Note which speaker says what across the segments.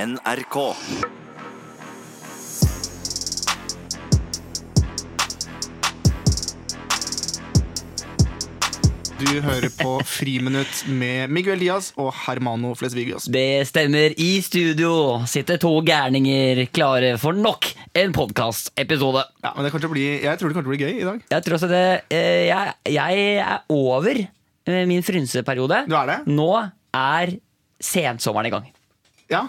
Speaker 1: NRK.
Speaker 2: Du hører på Friminutt med Miguel Diaz og Hermano Flesvigios.
Speaker 3: Det stemmer. I studio sitter to gærninger klare for nok en podkastepisode.
Speaker 2: Ja, men det kommer til å bli, jeg tror det kommer til å bli gøy i dag.
Speaker 3: Jeg tror også det eh, Jeg, jeg er over eh, min frynseperiode.
Speaker 2: Du er det?
Speaker 3: Nå er sensommeren i gang.
Speaker 2: Ja,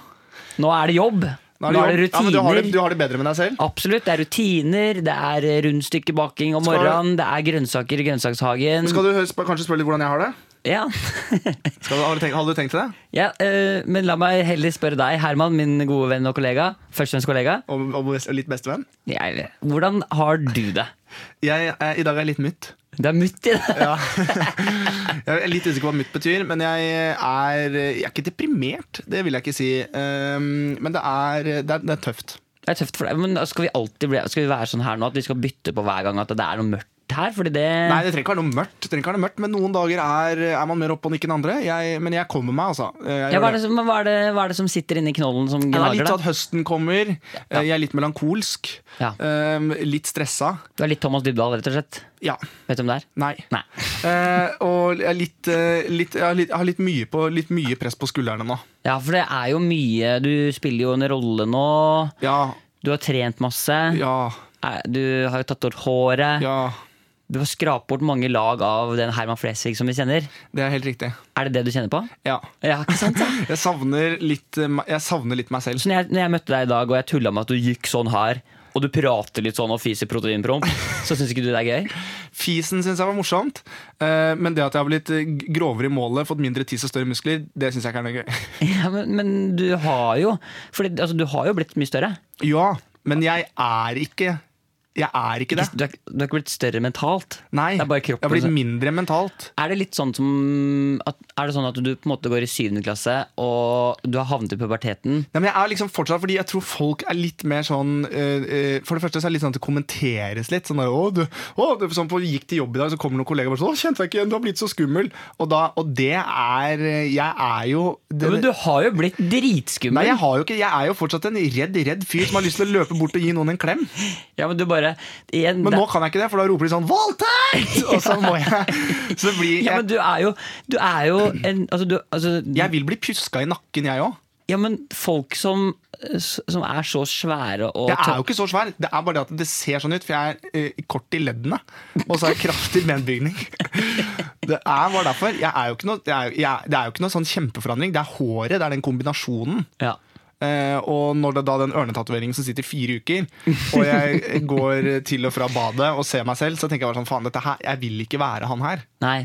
Speaker 3: Nå er det jobb. Nå
Speaker 2: da
Speaker 3: er det,
Speaker 2: jobb. Ja, men du, har det,
Speaker 3: rutiner.
Speaker 2: du har det bedre med deg selv?
Speaker 3: Absolutt. Det er rutiner, det er eh, rundstykkebaking om
Speaker 2: Skal-
Speaker 3: morgenen, det er grønnsaker i grønnsakshagen.
Speaker 2: Skal du høre- sp- kanskje spørre litt hvordan jeg har det?
Speaker 3: Ja.
Speaker 2: Skal du, har du tenkt, hadde du tenkt til det?
Speaker 3: ja, eh, men la meg heller spørre deg, Herman, min gode venn og kollega. Førstevennskollega.
Speaker 2: Og, og best- og litt bestevenn?
Speaker 3: Jeg- Hvordan har du det?
Speaker 2: Jeg, er- I dag er jeg litt mutt.
Speaker 3: Det er mutt i det.
Speaker 2: Ja. jeg er litt usikker på hva mutt betyr, men jeg er, jeg er ikke deprimert. Det vil jeg ikke si. Um, men det er, det er, det er tøft.
Speaker 3: Det er tøft for deg, men da skal vi alltid bli, skal vi være sånn her nå at vi skal bytte på hver gang at det er noe mørkt her? Fordi det
Speaker 2: Nei, det trenger ikke være noe mørkt, det trenger ikke være noe mørkt men noen dager er, er man mer oppe og nikker enn andre. Jeg, men jeg kommer meg, altså. Jeg
Speaker 3: ja,
Speaker 2: gjør det.
Speaker 3: hva, er det som, men hva, er det, hva er det som sitter inni knollen som
Speaker 2: Det er
Speaker 3: gnager
Speaker 2: litt sånn- at
Speaker 3: deg?
Speaker 2: høsten kommer. Eh, Jeg er litt melankolsk.
Speaker 3: Ja.
Speaker 2: Eh, Litt stressa.
Speaker 3: Du er litt Thomas Dybdahl, rett og slett.
Speaker 2: Ja.
Speaker 3: Vet du hvem det er?
Speaker 2: Nei.
Speaker 3: Nei.
Speaker 2: Eh, og jeg, er litt, eh, litt, jeg, har litt, jeg har litt mye, på, litt mye press på skuldrene nå.
Speaker 3: Ja, for det er jo mye Du spiller jo en rolle nå.
Speaker 2: Ja,
Speaker 3: Du har trent masse.
Speaker 2: ja,
Speaker 3: Er- Du har jo tatt bort håret.
Speaker 2: ja.
Speaker 3: Du har skrapt bort mange lag av den Herman Flesvig som vi kjenner.
Speaker 2: Det er helt riktig.
Speaker 3: Er det det du kjenner på?
Speaker 2: Ja.
Speaker 3: Ja, ikke sant? Ja?
Speaker 2: Jeg savner litt, eh, me- jeg savner litt meg selv.
Speaker 3: Så når jeg, når jeg møtte deg i dag, og jeg tulla med at du gikk sånn her, og du prater litt sånn og fiser proteinpromp, så syns ikke du det er gøy?
Speaker 2: Fisen syns jeg var morsomt, eh, men det at jeg har blitt eh, g- grovere i målet, fått mindre tiss og større muskler, det syns jeg ikke er noe gøy.
Speaker 3: Ja, men, men du har jo fordi, altså, Du har jo blitt mye større.
Speaker 2: Ja, men jeg er ikke Jeg er ikke det.
Speaker 3: Du er, du er ikke blitt større mentalt.
Speaker 2: Nei,
Speaker 3: Det er bare
Speaker 2: jeg
Speaker 3: kroppen.
Speaker 2: har blitt mindre mentalt.
Speaker 3: er det litt sånn som at, Er det sånn at du på en måte går i syvende klasse, og du har havnet i puberteten?
Speaker 2: Nei, men jeg er liksom fortsatt fordi jeg tror folk er litt mer sånn eh, eh, For det første så er det litt sånn at det kommenteres litt. Sånn der, å, du, å, du, sånn på, gikk til jobb i dag, så kommer noen kollegaer og bare sånn 'Å, kjente jeg ikke igjen, du har blitt så skummel'. Og, da, og det er eh, Jeg er jo det,
Speaker 3: Ja, men du har jo blitt dritskummel!
Speaker 2: Nei, jeg, har jo ikke, jeg er jo fortsatt en redd, redd fyr som har lyst til å løpe bort og gi noen en klem.
Speaker 3: Ja, men du bare igjen,
Speaker 2: Men
Speaker 3: det-
Speaker 2: nå kan jeg ikke det, for da roper de sånn 'voldtekt!' Og så må jeg Så det blir
Speaker 3: ja, men
Speaker 2: jeg,
Speaker 3: du er jo, du er jo en altså, du, altså,
Speaker 2: jeg vil bli pjuska i nakken, jeg òg.
Speaker 3: Ja, men folk som, eh, som er så svære og
Speaker 2: Jeg
Speaker 3: tø-
Speaker 2: er jo ikke så svær, det er bare det at det ser sånn ut, for jeg er eh, kort i leddene. Og så har jeg kraftig benbygning. Det er bare derfor. Jeg er jo ikke noe, jeg er, jo- jeg, det er jo ikke noe sånn kjempeforandring. Det er håret, det er den kombinasjonen.
Speaker 3: Ja.
Speaker 2: Eh, og når det er da den ørnetatoveringen som sitter i fire uker, og jeg eh, går til og fra badet og ser meg selv, så tenker jeg bare sånn faen, dette her, jeg vil ikke være han her.
Speaker 3: Nei.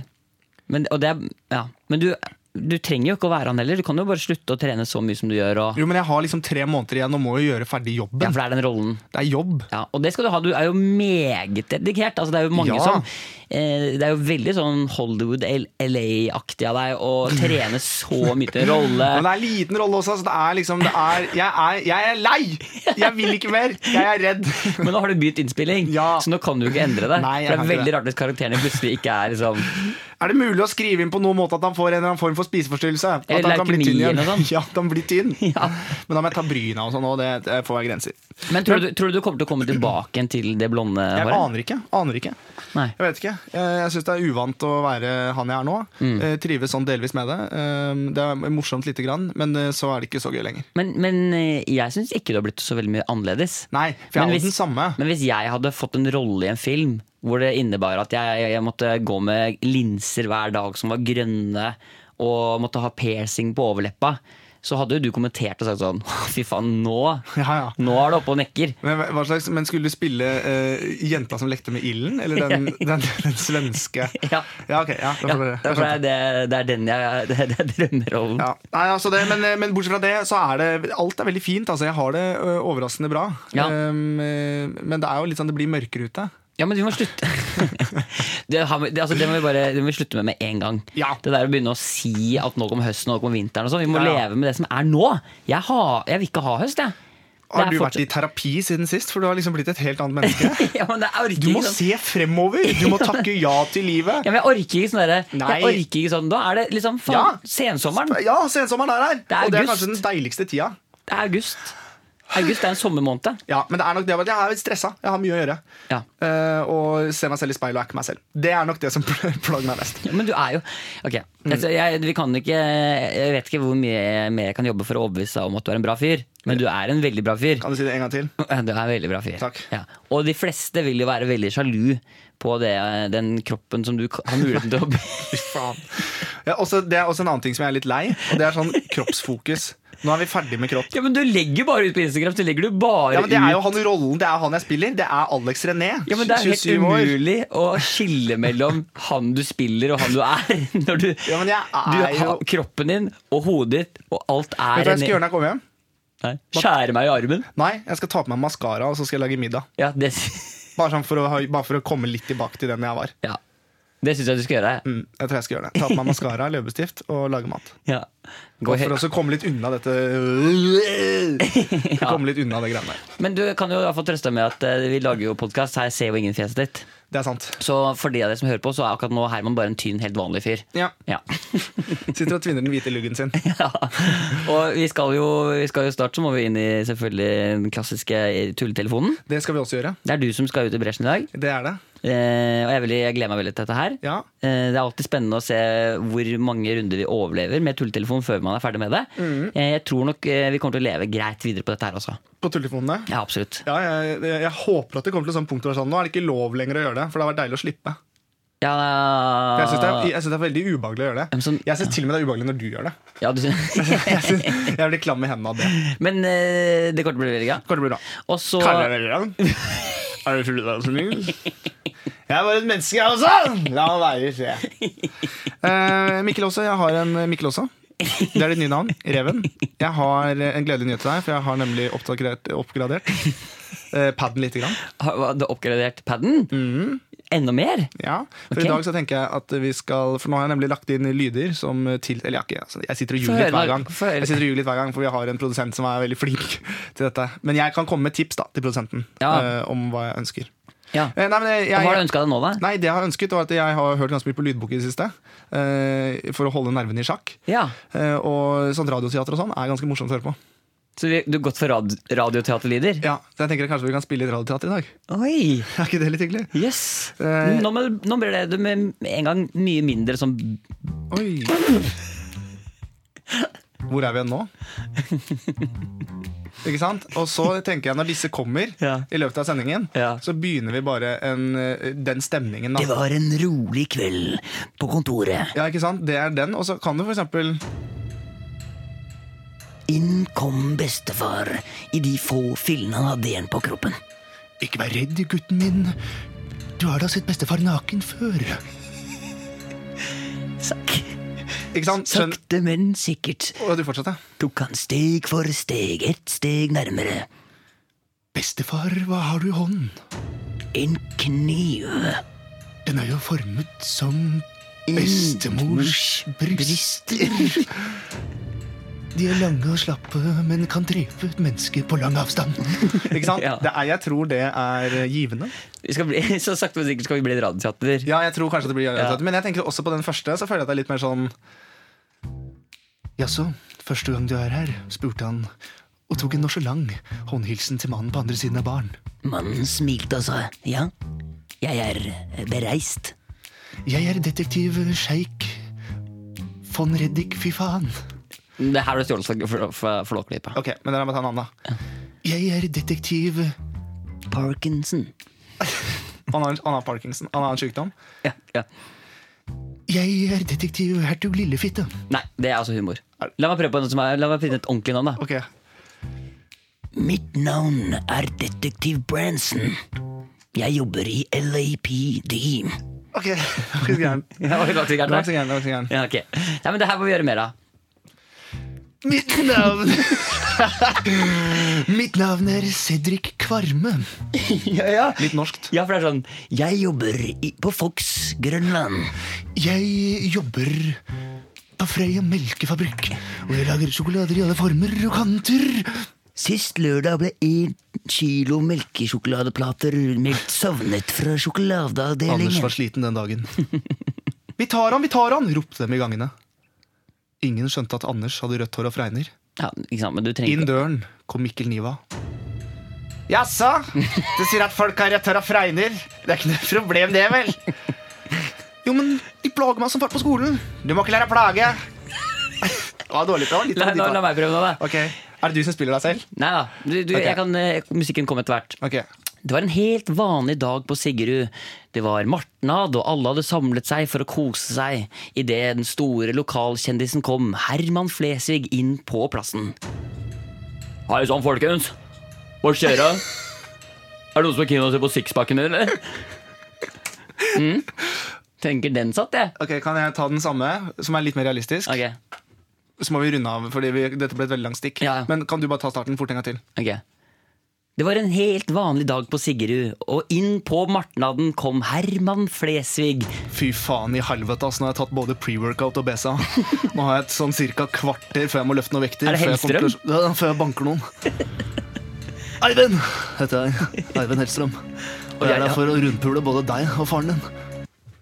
Speaker 3: Men, og det er, ja. men du, du trenger jo ikke å være han heller. Du kan jo bare slutte å trene så mye som du gjør. Og,
Speaker 2: Jo, men jeg har liksom tre måneder igjen og må jo gjøre ferdig
Speaker 3: ja,
Speaker 2: jobben.
Speaker 3: for det er den rollen.
Speaker 2: Det er jobb.
Speaker 3: Ja, og det skal du ha. Du er jo meget dedikert. Altså, det er jo mange
Speaker 2: Ja.
Speaker 3: som eh, Det er jo veldig sånn Hollywood L- LA-aktig av deg å trene så mye til en rolle.
Speaker 2: Men det er en liten rolle også, så det er liksom det er, jeg, er, jeg er lei! Jeg vil ikke mer! Jeg er redd.
Speaker 3: Men nå har du begynt innspilling,
Speaker 2: Ja.
Speaker 3: så nå kan du jo ikke endre deg.
Speaker 2: Nei, jeg
Speaker 3: det er
Speaker 2: kan ikke
Speaker 3: veldig
Speaker 2: det.
Speaker 3: rart hvis karakterene plutselig ikke er liksom
Speaker 2: Er det mulig å skrive inn på noen måte at han får en eller annen form for spiseforstyrrelse? At
Speaker 3: Eller
Speaker 2: han kan bli
Speaker 3: leukemi
Speaker 2: tynn igjen?
Speaker 3: eller noe sånt?
Speaker 2: Ja, at han blir tynn.
Speaker 3: Ja.
Speaker 2: Men da må jeg ta bryna og sånn, og det, det får være grenser.
Speaker 3: Men tror du, tror du du kommer til å komme tilbake igjen til det blonde
Speaker 2: Jeg
Speaker 3: håret?
Speaker 2: aner ikke. aner ikke.
Speaker 3: Nei.
Speaker 2: Jeg vet ikke. Jeg, jeg syns det er uvant å være han jeg er nå.
Speaker 3: Mm.
Speaker 2: Eh, Trives sånn delvis med det. Eh, Det er morsomt lite grann, men eh, så er det ikke så gøy lenger.
Speaker 3: Men, men eh, jeg syns ikke du har blitt så veldig mye annerledes.
Speaker 2: Nei, for jeg
Speaker 3: Men
Speaker 2: er
Speaker 3: hvis-
Speaker 2: jo den samme.
Speaker 3: Men hvis jeg hadde fått en rolle i en film hvor det innebar at jeg, jeg, jeg måtte gå med linser hver dag som var grønne, og måtte ha piercing på overleppa, så hadde jo du kommentert og sagt sånn Fy faen, nå
Speaker 2: Ja, ja.
Speaker 3: Nå er det oppe og nekker.
Speaker 2: Men, hva slags, men skulle du spille eh, jenta som lekte med ilden? Eller den, den, den svenske?
Speaker 3: Ja.
Speaker 2: ja ok. Ja, da får
Speaker 3: Ja,
Speaker 2: dere- jeg
Speaker 3: derfor
Speaker 2: skjønte.
Speaker 3: er det, det er den jeg det, det er drømmerollen.
Speaker 2: Ja. Nei, altså det, men, men bortsett fra det, så er det Alt er veldig fint. Altså, jeg har det ø, overraskende bra.
Speaker 3: Ja.
Speaker 2: Um, eh, men det er jo litt sånn det blir mørkere ute.
Speaker 3: Ja, men vi må slutte det, har vi- det, altså, det må vi bare det må vi slutte med med en gang.
Speaker 2: Ja.
Speaker 3: Det der å begynne å si at nå kommer høsten og nå kommer vinteren og sånn. Vi må
Speaker 2: Ja, ja.
Speaker 3: leve med det som er nå. Jeg, har, jeg vil ikke ha høst, jeg. Det
Speaker 2: Har
Speaker 3: er
Speaker 2: du vært
Speaker 3: fortsatt-
Speaker 2: i terapi siden sist? For du har liksom blitt et helt annet menneske.
Speaker 3: ja, men det er orker
Speaker 2: Du må
Speaker 3: ikke sånn.
Speaker 2: se fremover! Du må takke ja til livet.
Speaker 3: Ja, men jeg orker ikke sånn derre
Speaker 2: Nei.
Speaker 3: Jeg orker ikke sånn Da er det liksom faen,
Speaker 2: Ja.
Speaker 3: sensommeren.
Speaker 2: Ja, sensommeren er her!
Speaker 3: er
Speaker 2: og det er
Speaker 3: august.
Speaker 2: kanskje den deiligste tida.
Speaker 3: Det er august. August er en sommermåned.
Speaker 2: Ja, men det er nok det at jeg er litt stressa. Jeg har mye å gjøre.
Speaker 3: Ja.
Speaker 2: Eh, og ser meg selv i speilet og er ikke meg selv. Det er nok det som plager meg mest.
Speaker 3: Ja, Men du er jo Ok,
Speaker 2: Mm.
Speaker 3: altså, jeg, vi kan ikke, jeg vet ikke hvor mye mer jeg kan jobbe for å overbevise deg om at du er en bra fyr, men du er en veldig bra fyr.
Speaker 2: Kan du si det en gang til?
Speaker 3: Du er en veldig bra fyr.
Speaker 2: Takk.
Speaker 3: Ja. Og de fleste vil jo være veldig sjalu på det, den kroppen som du k- har muligheten til å bli.
Speaker 2: Ja, også, det er også en annen ting som jeg er litt lei, og det er sånn kroppsfokus. Nå er vi ferdig med kropp.
Speaker 3: Ja, men du legger bare ut på Instagram, så legger du bare
Speaker 2: Ja, men Det er
Speaker 3: ut
Speaker 2: jo han i rollen, det er han jeg spiller. Det er Alex René.
Speaker 3: Ja, men Det er helt
Speaker 2: 27 år.
Speaker 3: umulig å skille mellom han du spiller og han du er. Når du,
Speaker 2: Ja, men jeg
Speaker 3: du
Speaker 2: er jo
Speaker 3: har kroppen din og hodet ditt og
Speaker 2: Vet
Speaker 3: alt
Speaker 2: du
Speaker 3: er
Speaker 2: hva jeg skal gjøre når jeg kommer hjem?
Speaker 3: Nei, Skjære meg i armen.
Speaker 2: Nei, jeg skal ta på meg maskara og så skal jeg lage middag.
Speaker 3: Ja, det,
Speaker 2: Bare, sånn for, å, ha- bare for å komme litt tilbake til den jeg var.
Speaker 3: ja. det syns jeg du skal gjøre.
Speaker 2: Mm, jeg tror jeg skal gjøre det. Ta på meg maskara, leppestift og lage mat.
Speaker 3: Ja.
Speaker 2: Og
Speaker 3: Gå
Speaker 2: for
Speaker 3: helt-
Speaker 2: også å komme litt unna dette
Speaker 3: Ja.
Speaker 2: Komme litt unna det greiene der.
Speaker 3: Men du kan jo i hvert fall trøste deg med at eh, vi lager jo podkast, her ser jo ingen fjeset ditt.
Speaker 2: Det er sant.
Speaker 3: Så for de av dere som hører på, så er akkurat nå Herman bare en tynn, helt vanlig fyr.
Speaker 2: Ja.
Speaker 3: Ja.
Speaker 2: Sitter og tvinner den hvite luggen sin.
Speaker 3: ja. Og vi skal, jo, vi skal jo snart så må vi inn i selvfølgelig den klassiske tulletelefonen.
Speaker 2: Det skal vi også gjøre.
Speaker 3: Det er du som skal ut i bresjen i dag.
Speaker 2: Det er det.
Speaker 3: Eh, og jeg, er veldig, jeg gleder meg veldig til dette her.
Speaker 2: Ja.
Speaker 3: Eh, det er alltid spennende å se hvor mange runder vi overlever med tulletelefon før man er ferdig med det.
Speaker 2: Mm.
Speaker 3: Eh, jeg tror nok eh, vi kommer til å leve greit videre på dette her også.
Speaker 2: På tulltelefonene.
Speaker 3: Ja, absolutt.
Speaker 2: Ja, jeg, jeg, jeg håper at det kommer til et sånt punkt hvor det er sånn, nå er det ikke lov lenger å gjøre det. For det har vært deilig å slippe.
Speaker 3: Ja,
Speaker 2: Jeg syns det, er- jeg synes det er veldig ubehagelig å gjøre
Speaker 3: Ah. Men
Speaker 2: det.
Speaker 3: sånn-
Speaker 2: Jeg syns til og med det er ubehagelig når du gjør det.
Speaker 3: ja, du,
Speaker 2: Jeg, synes, jeg blir klam i hendene av det.
Speaker 3: men eh, det kommer til å bli veldig gøy.
Speaker 2: Kommer til å bli bra.
Speaker 3: Og så
Speaker 2: Kaller jeg deg det? Er du full av smiling? Jeg er bare et menneske, jeg også! La meg være i fred. Eh, Mikkel også. Jeg har en eh, Mikkel også. Det er ditt nye navn. Reven. Jeg har eh, en gledelig nyhet til deg, for jeg har nemlig oppgradert, oppgradert eh, paden lite grann.
Speaker 3: har hva, du har oppgradert paden. Enda mer?
Speaker 2: Ja, for
Speaker 3: Ok.
Speaker 2: i dag så tenker jeg at vi skal For nå har jeg nemlig lagt inn lyder som til Eller jeg, har ikke, altså, jeg sitter og
Speaker 3: Få
Speaker 2: ljuger litt
Speaker 3: høre,
Speaker 2: hver gang.
Speaker 3: få høre.
Speaker 2: Jeg sitter og ljuger litt hver gang For vi har en produsent som er veldig flink til dette. Men jeg kan komme med tips da til produsenten
Speaker 3: Ja.
Speaker 2: eh, om hva jeg ønsker.
Speaker 3: Ja.
Speaker 2: Eh, nei, men jeg, jeg,
Speaker 3: Og hva har du ønska deg nå, da?
Speaker 2: Nei, det jeg har ønsket var at jeg har hørt ganske mye på lydbok i det siste. eh, for å holde nervene i sjakk.
Speaker 3: Ja,
Speaker 2: Eh, og sånn radioteater og sånn er ganske morsomt å høre på.
Speaker 3: Så vi, du har gått for rad, radioteaterlyder?
Speaker 2: Ja, så jeg tenker kanskje vi kan spille litt radioteater i dag.
Speaker 3: Oi!
Speaker 2: Er ikke det litt hyggelig?
Speaker 3: Yes.
Speaker 2: Eh.
Speaker 3: Nå, men, nå blir det med en gang mye mindre sånn
Speaker 2: Oi. Hvor er vi igjen nå? Ikke sant? Og så tenker jeg når disse kommer
Speaker 3: Ja.
Speaker 2: i løpet av sendingen,
Speaker 3: Ja.
Speaker 2: så begynner vi bare en, eh, den stemningen. Da.
Speaker 3: var en rolig kveld på kontoret.
Speaker 2: Ja, ikke sant? Det er den, og så kan du for eksempel
Speaker 3: Inn kom bestefar i de få fillene han hadde igjen på kroppen.
Speaker 2: Ikke vær redd, gutten min. Du har da sett bestefar naken før.
Speaker 3: Sak.
Speaker 2: Ikke sant? Skjønn.
Speaker 3: Sakte, men sikkert
Speaker 2: Og du fortsatte.
Speaker 3: tok han steg for steg, ett steg nærmere.
Speaker 2: Bestefar, hva har du i hånden?
Speaker 3: En kniv.
Speaker 2: Den er jo formet som
Speaker 3: Mm.
Speaker 2: bestemors bryster. De er lange og slappe, men kan drepe et menneske på lang avstand. Ikke sant?
Speaker 3: Ja.
Speaker 2: Det er, jeg tror det er eh, givende.
Speaker 3: Vi skal bli, så sakte, men sikkert skal vi bli et radioteater.
Speaker 2: Ja, jeg tror kanskje det blir gjennomtatt. Men jeg tenker også på den første, så føler jeg at det er litt mer sånn Jaså, første gang du er her, spurte han og tok en nonchalant håndhilsen til mannen på andre siden av baren.
Speaker 3: Mannen smilte og sa ja, jeg er bereist.
Speaker 2: Jeg er detektiv sjeik von Reddik, fy faen.
Speaker 3: Det her ble stjålet fra- fra- fra Flåklypa.
Speaker 2: Ok, men dere må ta en annen, da. Jeg er detektiv
Speaker 3: Parkinson.
Speaker 2: Han har, han har parkinson. Han har en sykdom.
Speaker 3: Ja, ja.
Speaker 2: Jeg er detektiv hertug Lillefitte.
Speaker 3: Nei, det er altså humor. La meg prøve på en som er, la meg finne et ordentlig navn, da.
Speaker 2: Ok,
Speaker 3: Mitt navn er Detektiv Branson. Jeg jobber i LAPD.
Speaker 2: ok. Det var ikke så gærent.
Speaker 3: Ja, var det godt vi
Speaker 2: Det
Speaker 3: klarte
Speaker 2: var ikke
Speaker 3: det?
Speaker 2: så gærent, det var ikke så gærent.
Speaker 3: Ja, ok. Nei, men det her må vi gjøre mer av.
Speaker 2: Mitt navn Mitt navn er Cedric Kvarme.
Speaker 3: Ja, ja.
Speaker 2: Litt norskt.
Speaker 3: ja, for det er sånn Jeg jobber i, på Fox Grønland.
Speaker 2: Jeg jobber på Freia melkefabrikk, og jeg lager sjokolader i alle former og kanter.
Speaker 3: Sist lørdag ble én kilo melkesjokoladeplater meldt sovnet fra
Speaker 2: Anders
Speaker 3: sjokoladeavdelingen.
Speaker 2: var sliten den dagen. Vi tar han, vi tar han! ropte dem i gangene. Ingen skjønte at Anders hadde rødt hår og fregner.
Speaker 3: Ja, ikke sant, men du trenger
Speaker 2: Inn
Speaker 3: ikke
Speaker 2: døren kom Mikkel Niva. Jaså? Du sier at folk har rette refreiner? Det er ikke noe problem, det, vel? Jo, men de plager meg som fart på skolen. Du må ikke lære å plage. Det var dårlig bra. Litt
Speaker 3: La,
Speaker 2: av
Speaker 3: la,
Speaker 2: de
Speaker 3: la
Speaker 2: bra.
Speaker 3: meg prøve nå, da.
Speaker 2: Ok, Er det du som spiller deg selv?
Speaker 3: Nei da. Du, du,
Speaker 2: Ok.
Speaker 3: jeg kan, eh, musikken kom etter hvert.
Speaker 2: Ok.
Speaker 3: Det var en helt vanlig dag på Siggerud. Det var martnad, og alle hadde samlet seg for å kose seg idet den store lokalkjendisen kom, Herman Flesvig, inn på plassen. Hei sann, folkens. Hva skjer da? Er det noen som er keen på å se på sixpacken min, eller? Mm? Tenker den satt, jeg.
Speaker 2: Ok, Kan jeg ta den samme, som er litt mer realistisk?
Speaker 3: Ok,
Speaker 2: Så må vi runde av, fordi vi, dette ble et veldig langt stikk.
Speaker 3: Ja, ja.
Speaker 2: Men kan du bare ta starten fort en gang til?
Speaker 3: ok. Det var en helt vanlig dag på Siggerud, og inn på martnaden kom Herman Flesvig.
Speaker 2: Fy faen i helvete, ass. Nå har jeg tatt både pre-workout og BSA. Nå har jeg et sånn cirka kvarter før jeg må løfte noen vekter.
Speaker 3: Er det
Speaker 2: før jeg kommer til å- Ja, før jeg banker noen. Eivind heter jeg. Eivind Hellstrøm. Og jeg er
Speaker 3: Ja, ja.
Speaker 2: der for å rundpule både deg og faren din.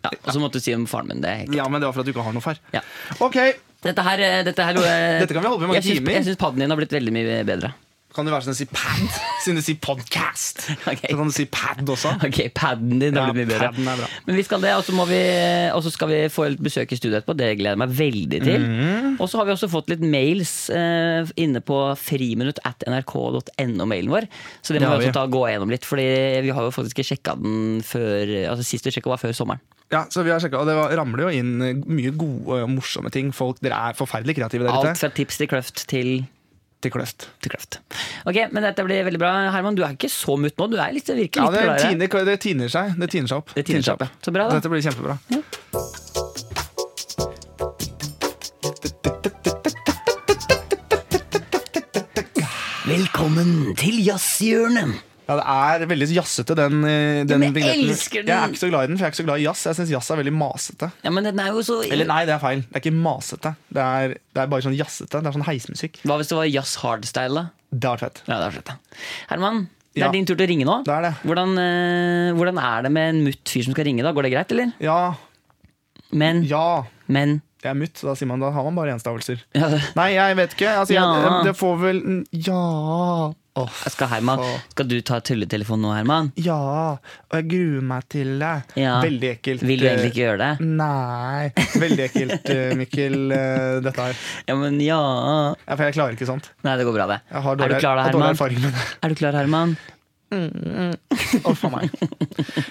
Speaker 3: Ja, og så måtte du si om faren min. det er
Speaker 2: Ja, men det var for at du ikke har noe far.
Speaker 3: Ja.
Speaker 2: Ok,
Speaker 3: Dette her, eh, dette her
Speaker 2: Dette kan vi holde på i mange
Speaker 3: jeg syns-
Speaker 2: timer.
Speaker 3: Jeg syns padden din har blitt veldig mye bedre.
Speaker 2: kan du være sånn å si pad, siden du sier podcast?
Speaker 3: Ok.
Speaker 2: Så kan du si pad også.
Speaker 3: Ok, padden din har
Speaker 2: Ja,
Speaker 3: blitt mye bedre.
Speaker 2: padden er bra.
Speaker 3: Men vi skal det, og så må vi- og så skal vi få litt besøk i studio etterpå. Det gleder jeg meg veldig til.
Speaker 2: Mhm.
Speaker 3: Og så har vi også fått litt mails eh, inne på friminutt at nrk.no-mailen vår. Så det
Speaker 2: Det
Speaker 3: må
Speaker 2: har
Speaker 3: vi
Speaker 2: vi.
Speaker 3: også ta, gå gjennom litt, Fordi vi har jo faktisk ikke sjekka den før Altså Sist vi sjekka, var før sommeren.
Speaker 2: Ja, så vi har sjekket, og det var, ramler jo inn eh, mye gode og morsomme ting. Folk, Dere er forferdelig kreative der
Speaker 3: Alt
Speaker 2: ute.
Speaker 3: fra tips til kløft til
Speaker 2: Til kløft.
Speaker 3: til kløft. Ok, men Dette blir veldig bra. Herman, du er ikke så mutt nå. Du er litt, virker litt
Speaker 2: Ja, det
Speaker 3: gladere.
Speaker 2: tiner, det tiner seg. Det tiner seg opp.
Speaker 3: Det tiner seg opp, ja. Så bra, da.
Speaker 2: Dette blir kjempebra.
Speaker 3: Ja. Velkommen til jazzhjørnet!
Speaker 2: Ja, det er veldig jazzete, den, eh, den
Speaker 3: men jeg
Speaker 2: vignetten.
Speaker 3: elsker den!
Speaker 2: Jeg er ikke så glad i den, for jeg er ikke så glad i jazz. Jeg syns jazz er veldig masete.
Speaker 3: Ja, men den er jo så
Speaker 2: Eller nei, det er feil. Det er ikke masete. Det er, det er bare sånn jazzete. Det er sånn heismusikk.
Speaker 3: Hva hvis det var jazz hardstyle, da?
Speaker 2: Det har vært fett.
Speaker 3: Ja, det er slett, da. Herman, det er
Speaker 2: Ja.
Speaker 3: din tur til å ringe nå.
Speaker 2: Det er det.
Speaker 3: Hvordan, eh, hvordan er det med en mutt fyr som skal ringe? da? Går det greit, eller?
Speaker 2: Ja,
Speaker 3: Men,
Speaker 2: ja.
Speaker 3: men
Speaker 2: Jeg er mutt, da, sier man, da har man bare enstavelser.
Speaker 3: ja,
Speaker 2: Nei, jeg vet ikke. Altså, jeg,
Speaker 3: Ja.
Speaker 2: det får vel Ja. Åh,
Speaker 3: skal, Herman,
Speaker 2: faen.
Speaker 3: skal du ta tulletelefonen nå, Herman?
Speaker 2: Ja. Og jeg gruer meg til det.
Speaker 3: Ja.
Speaker 2: Veldig ekkelt.
Speaker 3: Vil du egentlig ikke gjøre det?
Speaker 2: Nei. Veldig ekkelt, eh, Mikkel, eh, dette her.
Speaker 3: Ja, men ja
Speaker 2: Ja, for jeg klarer ikke sånt.
Speaker 3: Nei, det går bra, det.
Speaker 2: Jeg har
Speaker 3: er
Speaker 2: dårlig,
Speaker 3: du klar, da,
Speaker 2: har dårlig
Speaker 3: Herman?
Speaker 2: erfaring med det.
Speaker 3: Er du klar, Herman?
Speaker 2: Å, faen meg.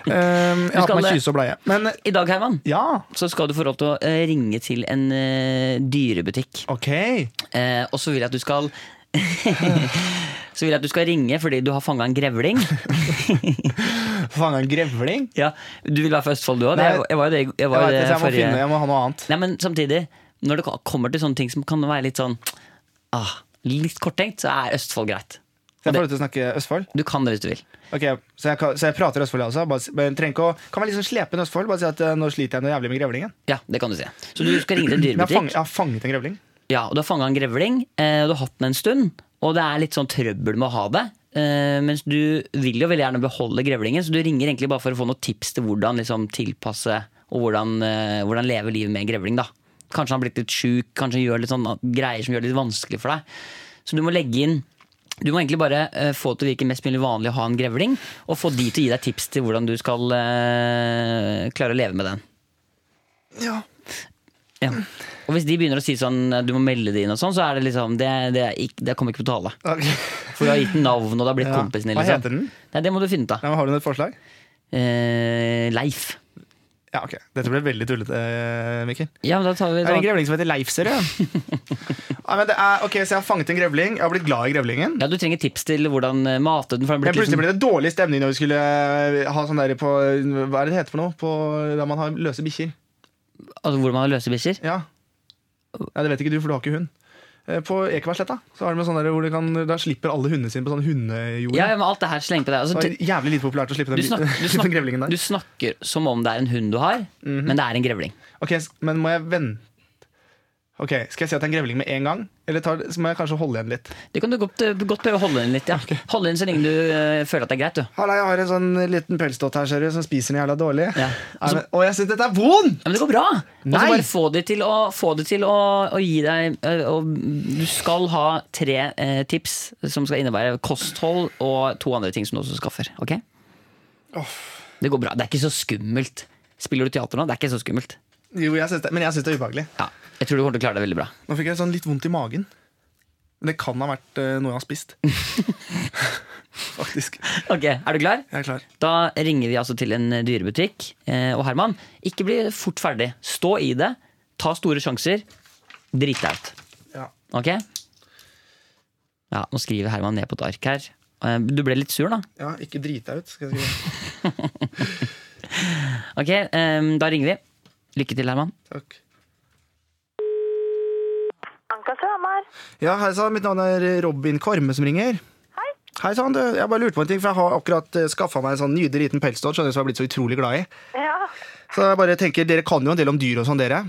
Speaker 2: Um, jeg har på
Speaker 3: skal
Speaker 2: meg
Speaker 3: det-
Speaker 2: kyse og bleie. Men
Speaker 3: I dag, Herman,
Speaker 2: ja,
Speaker 3: så skal du få lov til å eh, ringe til en eh, dyrebutikk.
Speaker 2: ok.
Speaker 3: Eh, og så vil jeg at du skal Så vil jeg at du skal ringe fordi du har fanga en grevling.
Speaker 2: Fanga en grevling.
Speaker 3: Ja, Du vil være fra Østfold, du òg?
Speaker 2: Nei,
Speaker 3: Jeg, jeg var jo det, jeg
Speaker 2: Jeg,
Speaker 3: var
Speaker 2: vet,
Speaker 3: jo
Speaker 2: ikke,
Speaker 3: det
Speaker 2: så jeg, må
Speaker 3: forrige
Speaker 2: finne, jeg må ha noe annet.
Speaker 3: Nei, Men samtidig, når det ka- kommer til sånne ting som kan være litt sånn ah, Litt korttenkt, så er Østfold greit.
Speaker 2: Så jeg får lov til å snakke Østfold?
Speaker 3: Du kan det hvis du vil.
Speaker 2: Ok, Så jeg, kan- så jeg prater Østfold, jeg også? Bare, s- men trenger ikke å, kan man liksom slepe en Østfold? Bare si at eh, nå sliter jeg noe jævlig med grevlingen.
Speaker 3: Ja, det kan du si. Så du skal ringe til en
Speaker 2: Men jeg har, fang,
Speaker 3: dyrebutikk.
Speaker 2: jeg har fanget en grevling.
Speaker 3: Ja, og Du har fanga en grevling, eh, og du har hatt den en stund. Og det er litt sånn trøbbel med å ha det. Eh, mens du vil jo veldig gjerne beholde grevlingen, så du ringer egentlig bare for å få noen tips til hvordan liksom, tilpasse og hvordan, eh, hvordan leve livet med en grevling. da Kanskje han har blitt litt sjuk, kanskje han gjør litt sånne greier som gjør det litt vanskelig for deg. Så du må legge inn Du må egentlig bare eh, få det til å virke mest mulig vanlig å ha en grevling, og få de til å gi deg tips til hvordan du skal eh, klare å leve med den.
Speaker 2: Ja.
Speaker 3: Ja. Og hvis de begynner å si sånn du må melde det inn, og sånn, så er det liksom Det, det, er ikke, det kommer ikke på tale.
Speaker 2: Ok.
Speaker 3: For du har gitt den navn, og det har blitt
Speaker 2: Ja.
Speaker 3: kompisen din.
Speaker 2: Hva
Speaker 3: liksom.
Speaker 2: heter den?
Speaker 3: Nei, det må du finne ut av.
Speaker 2: Ja, men har du noe forslag?
Speaker 3: Eh, Leif.
Speaker 2: Ja, ok. Dette ble veldig tullete, eh, Mikkel.
Speaker 3: Ja, men da tar vi
Speaker 2: Det er en grevling som heter Leif, ser du. ja, men det er, ok, Så jeg har fanget en grevling. Jeg har blitt glad i grevlingen.
Speaker 3: Ja, Du trenger tips til hvordan eh, mate den. For den
Speaker 2: Men
Speaker 3: blir
Speaker 2: plutselig
Speaker 3: liksom,
Speaker 2: ble det dårlig stemning når vi skulle ha sånn der på Hva er det det heter for noe? På, der man har løse bikkjer.
Speaker 3: altså, hvor man har løse bikkjer.
Speaker 2: Ja. ja, det vet ikke du, for du har ikke hund. Eh, På Ekebergsletta så har de en sånn der hvor du kan, der slipper alle hundene sine på sånn hundejord.
Speaker 3: Ja, ja, men alt det her slenger på deg.
Speaker 2: Det
Speaker 3: Altså,
Speaker 2: var jævlig lite populært å slippe den,
Speaker 3: du, snakker, du,
Speaker 2: slippe den grevlingen der.
Speaker 3: snakker, du Mhm. snakker som om det er en hund du har, men det er en grevling.
Speaker 2: Ok, s- Men må jeg vente Ok, Skal jeg si at det er en grevling med en gang, eller tar, så må jeg kanskje holde igjen litt?
Speaker 3: Det kan du godt, eh, godt prøve å holde inn litt. ja Holde inn så lenge du eh, føler at det er greit. du
Speaker 2: Halla, jeg har en sånn liten pelsdott her ser du, som spiser den jævla dårlig.
Speaker 3: Ja.
Speaker 2: Nei, men- Å, jeg syns dette er vond!
Speaker 3: ja, Men det går bra! Og så
Speaker 2: Nei.
Speaker 3: bare få det til å, få det til å, å gi deg eh, og Du skal ha tre eh, tips som skal innebære kosthold og to andre ting som du også skaffer. ok? Det går bra. Det er ikke så skummelt. Spiller du teater nå? Det er ikke så skummelt.
Speaker 2: Jo, jeg synes det, Men jeg syns det er ubehagelig.
Speaker 3: Ja, Jeg tror du kommer til å klare deg veldig bra.
Speaker 2: Nå fikk jeg sånn litt vondt i magen. Men det kan ha vært eh, noe jeg har spist. Faktisk. Jeg
Speaker 3: Ok, Er du klar?
Speaker 2: er klar.
Speaker 3: Da ringer vi altså til en dyrebutikk. Eh, og Herman, ikke bli fort ferdig. Stå i det. Ta store sjanser. Drit deg ut.
Speaker 2: Ja.
Speaker 3: Ok? Ja, nå skriver Herman ned på et ark her. Eh, Du ble litt sur, da.
Speaker 2: ja, ikke drit deg ut. Skal jeg skrive.
Speaker 3: Ok, eh, Da ringer vi. Lykke til, Herman.
Speaker 2: Takk.
Speaker 1: Anka Søhamar.
Speaker 2: Ja, hei sann. Mitt navn er eh, Robin Kvarme som ringer.
Speaker 1: Hei.
Speaker 2: Hei sann, du. Jeg bare lurte på en ting, for jeg har akkurat skaffa meg en sånn nydelig liten pelsdott skjønner du, som jeg har blitt så utrolig glad i.
Speaker 1: Ja,
Speaker 2: Så jeg bare tenker, Dere kan jo en del om dyr og sånn, dere.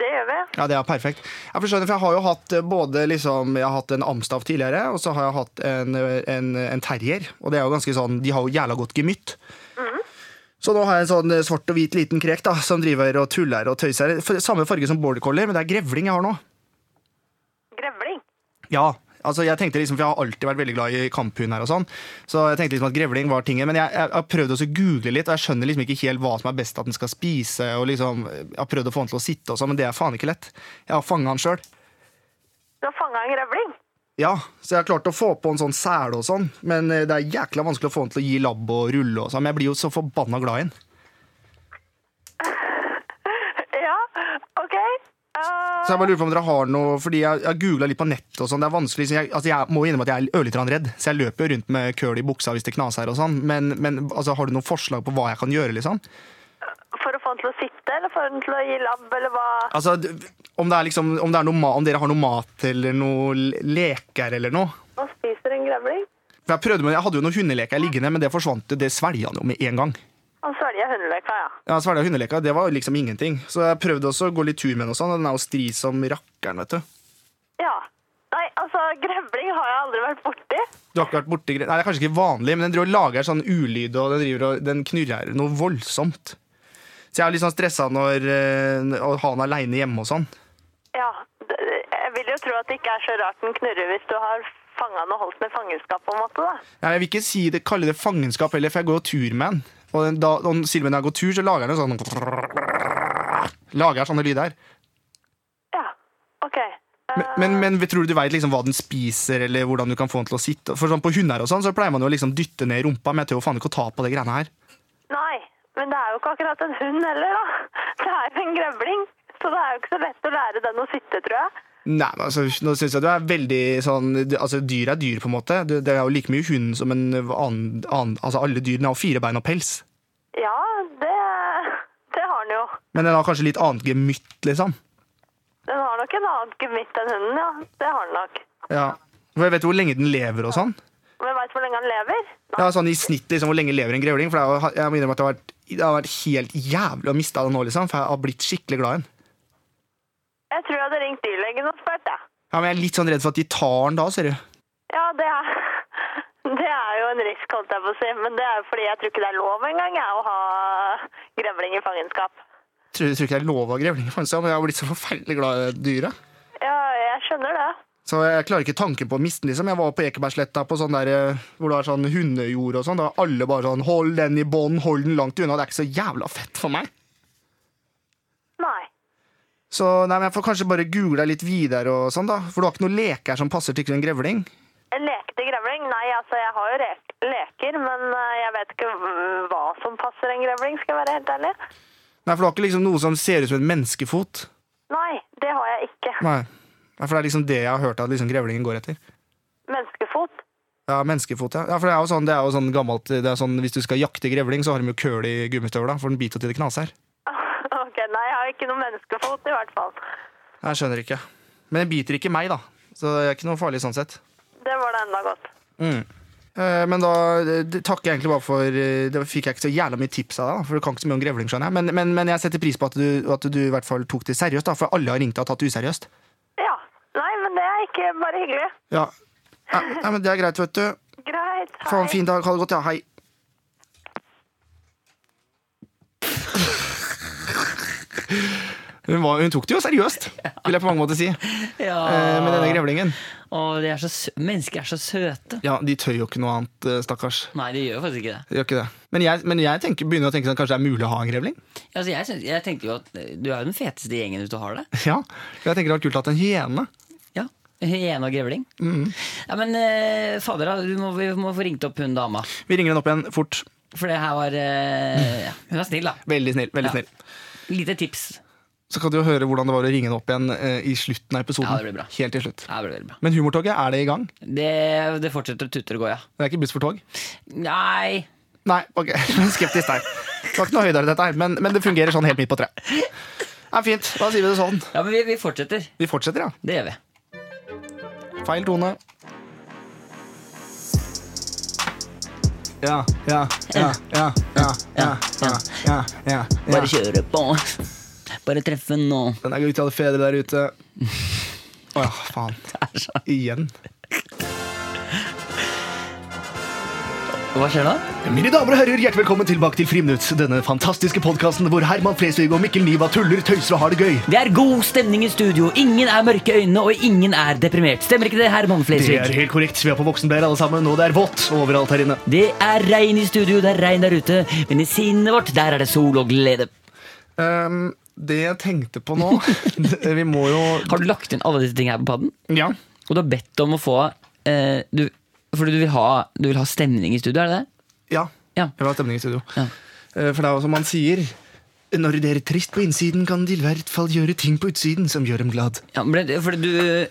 Speaker 1: det gjør vi.
Speaker 2: Ja, det er perfekt. Jeg forstår det, for jeg har jo hatt eh, både liksom, jeg har hatt en amstav tidligere, og så har jeg hatt en, eh, en, en terrier. Og det er jo ganske sånn, de har jo jævla godt gemytt. Så nå har jeg en sånn eh, svart og hvit liten krek da, som driver og tuller og tøyser. F- Samme farge som border collie, men det er grevling jeg har nå.
Speaker 1: Grevling.
Speaker 2: Ja, altså jeg tenkte liksom, for jeg har alltid vært veldig glad i kamphund her og sånn, så jeg tenkte liksom at grevling var tingen, men jeg, jeg har prøvd også å google litt, og jeg skjønner liksom ikke helt hva som er best at den skal spise, og liksom, jeg har prøvd å få den til å sitte og sånn, men det er faen ikke lett. Jeg har fanget den selv.
Speaker 1: Du har fanga en grevling.
Speaker 2: Ja, så jeg har klart å få på en sånn sele og sånn, men eh, det er jækla vanskelig å få den til å gi labb og rulle og sånn, men jeg blir jo så forbanna glad i den.
Speaker 1: Ja, OK. Eh,
Speaker 2: Så jeg bare lurer på om dere har noe, fordi jeg, jeg googla litt på nett og sånn, det er vanskelig, så jeg, altså jeg må innrømme at jeg er ørlite grann redd, så jeg løper jo rundt med køl i buksa hvis det knaser og sånn, men, men altså, har du noen forslag på hva jeg kan gjøre, liksom?
Speaker 1: for å få den til å sitte, eller for den til å gi labb, eller hva?
Speaker 2: Altså, d- om det er liksom, om, det er noe, ma- om dere har noe mat eller noe le- leker eller noe?
Speaker 1: Hva spiser en grevling?
Speaker 2: For jeg prøvde med, jeg hadde jo noen hundeleker liggende, men det forsvant, det svelget han jo med en gang.
Speaker 1: Han svelger hundeleka, ja.
Speaker 2: Ja, Svelga hundeleka, det var liksom ingenting. Så jeg prøvde også å gå litt tur med den, og sånn, og den er jo stri som rakkeren, vet du.
Speaker 1: Ja. Nei, altså, grevling har jeg aldri vært borti.
Speaker 2: Du har ikke vært borti gre- Nei, det er kanskje ikke vanlig, men den driver og lager sånn ulyd, og den, driver og, den knurrer noe voldsomt. Så jeg er litt sånn stressa når eh, å ha den aleine hjemme og sånn.
Speaker 1: Ja. d- Jeg vil jo tro at det ikke er så rart den knurrer hvis du har fanga den og holdt den i fangenskap, på en måte, da.
Speaker 2: Nei, Jeg vil ikke si det, kalle det fangenskap heller, for jeg går jo tur med den. Og den, da, og selv om jeg går tur, så lager den en sånn Lager sånne lyder.
Speaker 1: Ja. OK. Eh,
Speaker 2: Men, men, men tror du du veit liksom hva den spiser, eller hvordan du kan få den til å sitte? For sånn På hunder og sånn så pleier man jo å liksom dytte ned i rumpa, men jeg tør jo faen ikke å ta på de greiene her.
Speaker 1: Nei, men det er jo ikke akkurat en hund heller, da. Det er jo en grevling. Så det er jo ikke så lett å lære den å sitte, tror jeg.
Speaker 2: Nei, men altså, nå synes jeg du er veldig sånn du- altså, Dyr er dyr, på en måte. Du- Det er jo like mye hund som en annen, annen Altså, alle dyrene har jo fire bein og pels.
Speaker 1: Ja, det, det har den jo.
Speaker 2: Men den har kanskje litt annet gemytt, liksom.
Speaker 1: Den har nok en annen gemitt enn hunden, ja. Det har den nok.
Speaker 2: Ja. For jeg vet jo hvor lenge den lever og sånn.
Speaker 1: Men veit du hvor lenge han lever? Nei.
Speaker 2: Ja, sånn I snitt, liksom, hvor lenge lever en grevling? For det er jo, jeg må innrømme at det har vært, det har vært helt jævlig å miste den nå, liksom. For jeg har blitt skikkelig glad i den.
Speaker 1: Jeg tror jeg hadde ringt dyrlegen og spurt, jeg.
Speaker 2: Ja, men jeg er litt sånn redd for at de tar den da, ser du.
Speaker 1: Ja, det er, det er jo en risk, holdt jeg på å si. Men det er jo fordi jeg tror ikke det er lov engang jeg, å ha grevling i fangenskap.
Speaker 2: Tror, tror ikke det er lov å ha grevlinger, men jeg har blitt så forferdelig glad i dyret.
Speaker 1: Ja, jeg skjønner det.
Speaker 2: Så jeg klarer ikke tanken på å miste den. liksom. Jeg var på Ekebergsletta på sånn der, eh, hvor det er sånn hundejord og sånn. Da var alle bare sånn 'hold den i bånd, hold den langt unna'. Det er ikke så jævla fett for meg.
Speaker 1: Nei.
Speaker 2: Så nei, men jeg får kanskje bare google litt videre og sånn, da. For du har ikke noen leker som passer til en grevling?
Speaker 1: En lekete grevling? Nei, altså jeg har jo re leker, men eh, jeg vet ikke hv- hva som passer en grevling, skal jeg være helt ærlig.
Speaker 2: Nei, for du har ikke liksom noe som ser ut som en menneskefot?
Speaker 1: Nei, det har jeg ikke.
Speaker 2: Nei. nei for det er liksom det jeg har hørt at liksom grevlingen går etter.
Speaker 1: Menneskefot?
Speaker 2: Ja, menneskefot, ja. ja for det er jo sånn, det er jo sånn gammelt det er sånn, Hvis du skal jakte grevling, så har de jo køl i gummistøvla, for den biter jo til det knaser.
Speaker 1: ok, nei, jeg har ikke noen menneskefot i hvert fall.
Speaker 2: Jeg skjønner ikke. Men den biter ikke meg, da. Så det er ikke noe farlig sånn sett.
Speaker 1: Det var det enda godt.
Speaker 2: Eh, Men da eh, det takker jeg egentlig bare for eh, Det fikk jeg ikke så jævla mye tips av deg, da, for du kan ikke så mye om grevling, skjønner jeg. Men, men, men jeg setter pris på at du, at du i hvert fall tok det seriøst, da, for alle har ringt deg og tatt det useriøst.
Speaker 1: ikke bare hyggelig.
Speaker 4: Ja. Nei, nei, men det er greit, vet du.
Speaker 1: Greit. Hei.
Speaker 4: Få en fin dag. Ha det godt, ja. Hei.
Speaker 2: Hun, var, hun tok det jo seriøst, vil jeg på mange måter si,
Speaker 3: Ja.
Speaker 2: eh, med denne grevlingen.
Speaker 3: Og de er så sø mennesker er så søte.
Speaker 2: Ja, De tør jo ikke noe annet, eh, stakkars.
Speaker 3: Nei, de gjør jo faktisk ikke det.
Speaker 2: De gjør ikke det. Men jeg, men jeg tenker, begynner å tenke sånn, kanskje det er mulig å ha en grevling?
Speaker 3: Altså, jeg, synes, jeg tenker jo at eh, Du er jo den feteste i gjengen hvis du har det.
Speaker 2: Ja, Jeg tenker det var kult å ha hatt en hyene.
Speaker 3: Ja, Hyene og grevling. Ja, men eh, fader, da, du må, vi må få ringt opp hun dama.
Speaker 2: Vi ringer den opp igjen fort.
Speaker 3: For det her var eh, ja, Hun er snill, da.
Speaker 2: Veldig snill. veldig
Speaker 3: Ja.
Speaker 2: snill.
Speaker 3: Lite tips.
Speaker 2: Så kan du jo høre hvordan det var å ringe den opp igjen eh, i slutten av episoden.
Speaker 3: Ja, det blir bra.
Speaker 2: Helt til slutt.
Speaker 3: Ja, Det ble veldig bra.
Speaker 2: Men humortoget, er det i gang?
Speaker 3: Det, det fortsetter å tute og gå, ja.
Speaker 2: Det er ikke buss for tog?
Speaker 3: Nei
Speaker 2: Nei, ok. Skeptisk der. Det var ikke noe høydere, dette her, men, men det fungerer sånn helt midt på treet. Ja, fint. Da sier vi det sånn.
Speaker 3: Ja, men vi, vi fortsetter.
Speaker 2: Vi fortsetter, ja.
Speaker 3: Det gjør vi.
Speaker 2: Feil tone. Ja, ja, ja, ja, ja, ja, ja, ja, ja,
Speaker 3: Bare
Speaker 2: ja.
Speaker 3: kjøre på. Bare treffe nå.
Speaker 2: Den er god til alle fedre der ute. Å ja, faen. Igjen.
Speaker 3: Hva skjer nå?
Speaker 2: Mine damer og herrer, hjertelig velkommen tilbake til Friminutt. Denne fantastiske podkasten hvor Herman Flesvig og Mikkel Niva tuller, tøyser og har det gøy.
Speaker 3: Det er god stemning i studio. Ingen er mørke øynene, og ingen er deprimert. Stemmer ikke det, Herman
Speaker 2: Det er
Speaker 3: Flesvig?
Speaker 2: helt korrekt. Vi er på voksenbleier alle sammen, og det er vått overalt her inne.
Speaker 3: Det er regn i studio, det er regn der ute, men i sinnet vårt, der er det sol og glede.
Speaker 2: Ehm, det jeg tenkte på nå Vi må jo
Speaker 3: Har du lagt inn alle disse tingene her på padden?
Speaker 2: Ja.
Speaker 3: Og du har bedt om å få eh, du, Fordi du vil, ha, du vil ha stemning i studio, er det det?
Speaker 2: ja.
Speaker 3: Ja.
Speaker 2: Jeg vil ha stemning i studio.
Speaker 3: Ja.
Speaker 2: Eh, For det er jo som man sier Når de er trist på innsiden, kan de i hvert fall gjøre ting på utsiden som gjør dem glad.
Speaker 3: ja men det, fordi du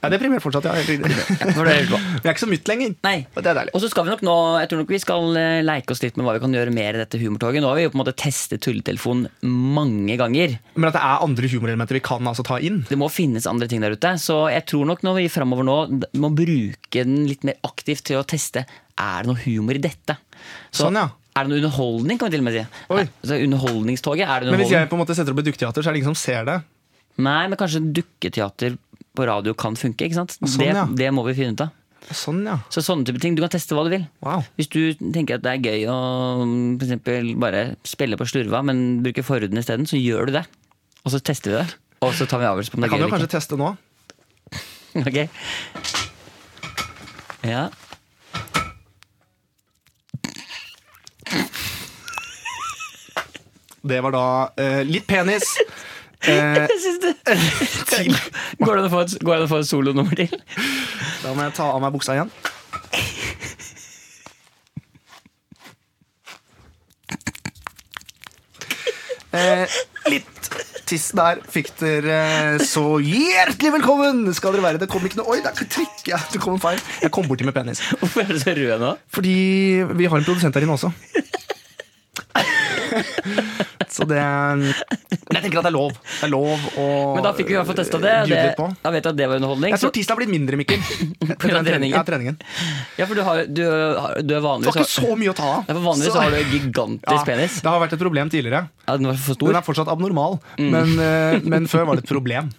Speaker 2: Jeg er deprimert fortsatt, ja. Helt riktig.
Speaker 3: for det er helt bra.
Speaker 2: Vi er ikke så mytt lenger.
Speaker 3: Nei.
Speaker 2: Og det er deilig.
Speaker 3: Og så skal vi nok nå Jeg tror nok vi skal eh, leke oss litt med hva vi kan gjøre mer i dette humortoget. Nå har vi jo på en måte testet tulletelefonen mange ganger.
Speaker 2: Men at det er andre humorelementer vi kan altså ta inn.
Speaker 3: Det må finnes andre ting der ute. Så jeg tror nok når vi fremover nå d- må bruke den litt mer aktivt til å teste er det noe humor i dette. Så
Speaker 2: Sånn, ja.
Speaker 3: Er det noe underholdning, kan vi til og med si.
Speaker 2: Oi.
Speaker 3: Er- Så underholdningstoget, er det noe
Speaker 2: Men hvis
Speaker 3: underholdning?
Speaker 2: jeg på en måte setter opp et dukketeater, så er det ingen som ser det.
Speaker 3: Nei, men kanskje dukketeater på radio kan funke, ikke sant?
Speaker 2: Sånn,
Speaker 3: det,
Speaker 2: ja.
Speaker 3: det må vi finne ut av.
Speaker 2: Sånn, ja.
Speaker 3: Så sånne type ting, du kan teste hva du vil.
Speaker 2: Wow.
Speaker 3: Hvis du tenker at det er gøy å mm, for eksempel, bare spille på slurva, men bruke forhuden isteden, så gjør du det. Og så tester vi det. Og så tar vi avgjørelse på om det
Speaker 2: Jeg
Speaker 3: er
Speaker 2: kan
Speaker 3: gøy
Speaker 2: jo
Speaker 3: eller
Speaker 2: kanskje teste nå.
Speaker 3: ikke. Ok. Ja.
Speaker 2: Det var da eh, litt penis. Eh,
Speaker 3: Jeg syns det Går det an å få et, går det an å få et solonummer til?
Speaker 2: da må jeg ta av meg buksa igjen. Eh, litt tiss der fikk dere. eh, Så hjertelig velkommen skal dere være. Det kom ikke noe Oi, det er ikke trykk. Ja, det kom en feil. Jeg kom borti med penis.
Speaker 3: Hvorfor er du så rød nå?
Speaker 2: Fordi vi har en produsent her inne også. Så det Men jeg tenker at det er lov. Det er lov å
Speaker 3: Men da fikk vi i hvert fall testa det.
Speaker 2: eh,
Speaker 3: og
Speaker 2: ljude
Speaker 3: det
Speaker 2: litt på.
Speaker 3: da vet jeg at det var underholdning.
Speaker 2: Jeg tror tissen har blitt mindre, Mikkel. Etter den
Speaker 3: treningen?
Speaker 2: treningen. Ja, treningen. Det
Speaker 3: ja, for du, har, du, har- du er vanligvis
Speaker 2: var ikke så mye å ta av.
Speaker 3: Ja, for vanligvis
Speaker 2: Så-
Speaker 3: har du gigantisk
Speaker 2: Ja,
Speaker 3: penis.
Speaker 2: Det har vært et problem tidligere.
Speaker 3: Ja, den var for
Speaker 2: Den
Speaker 3: stor. Mm.
Speaker 2: er fortsatt abnormal, men, eh, men før var det et problem.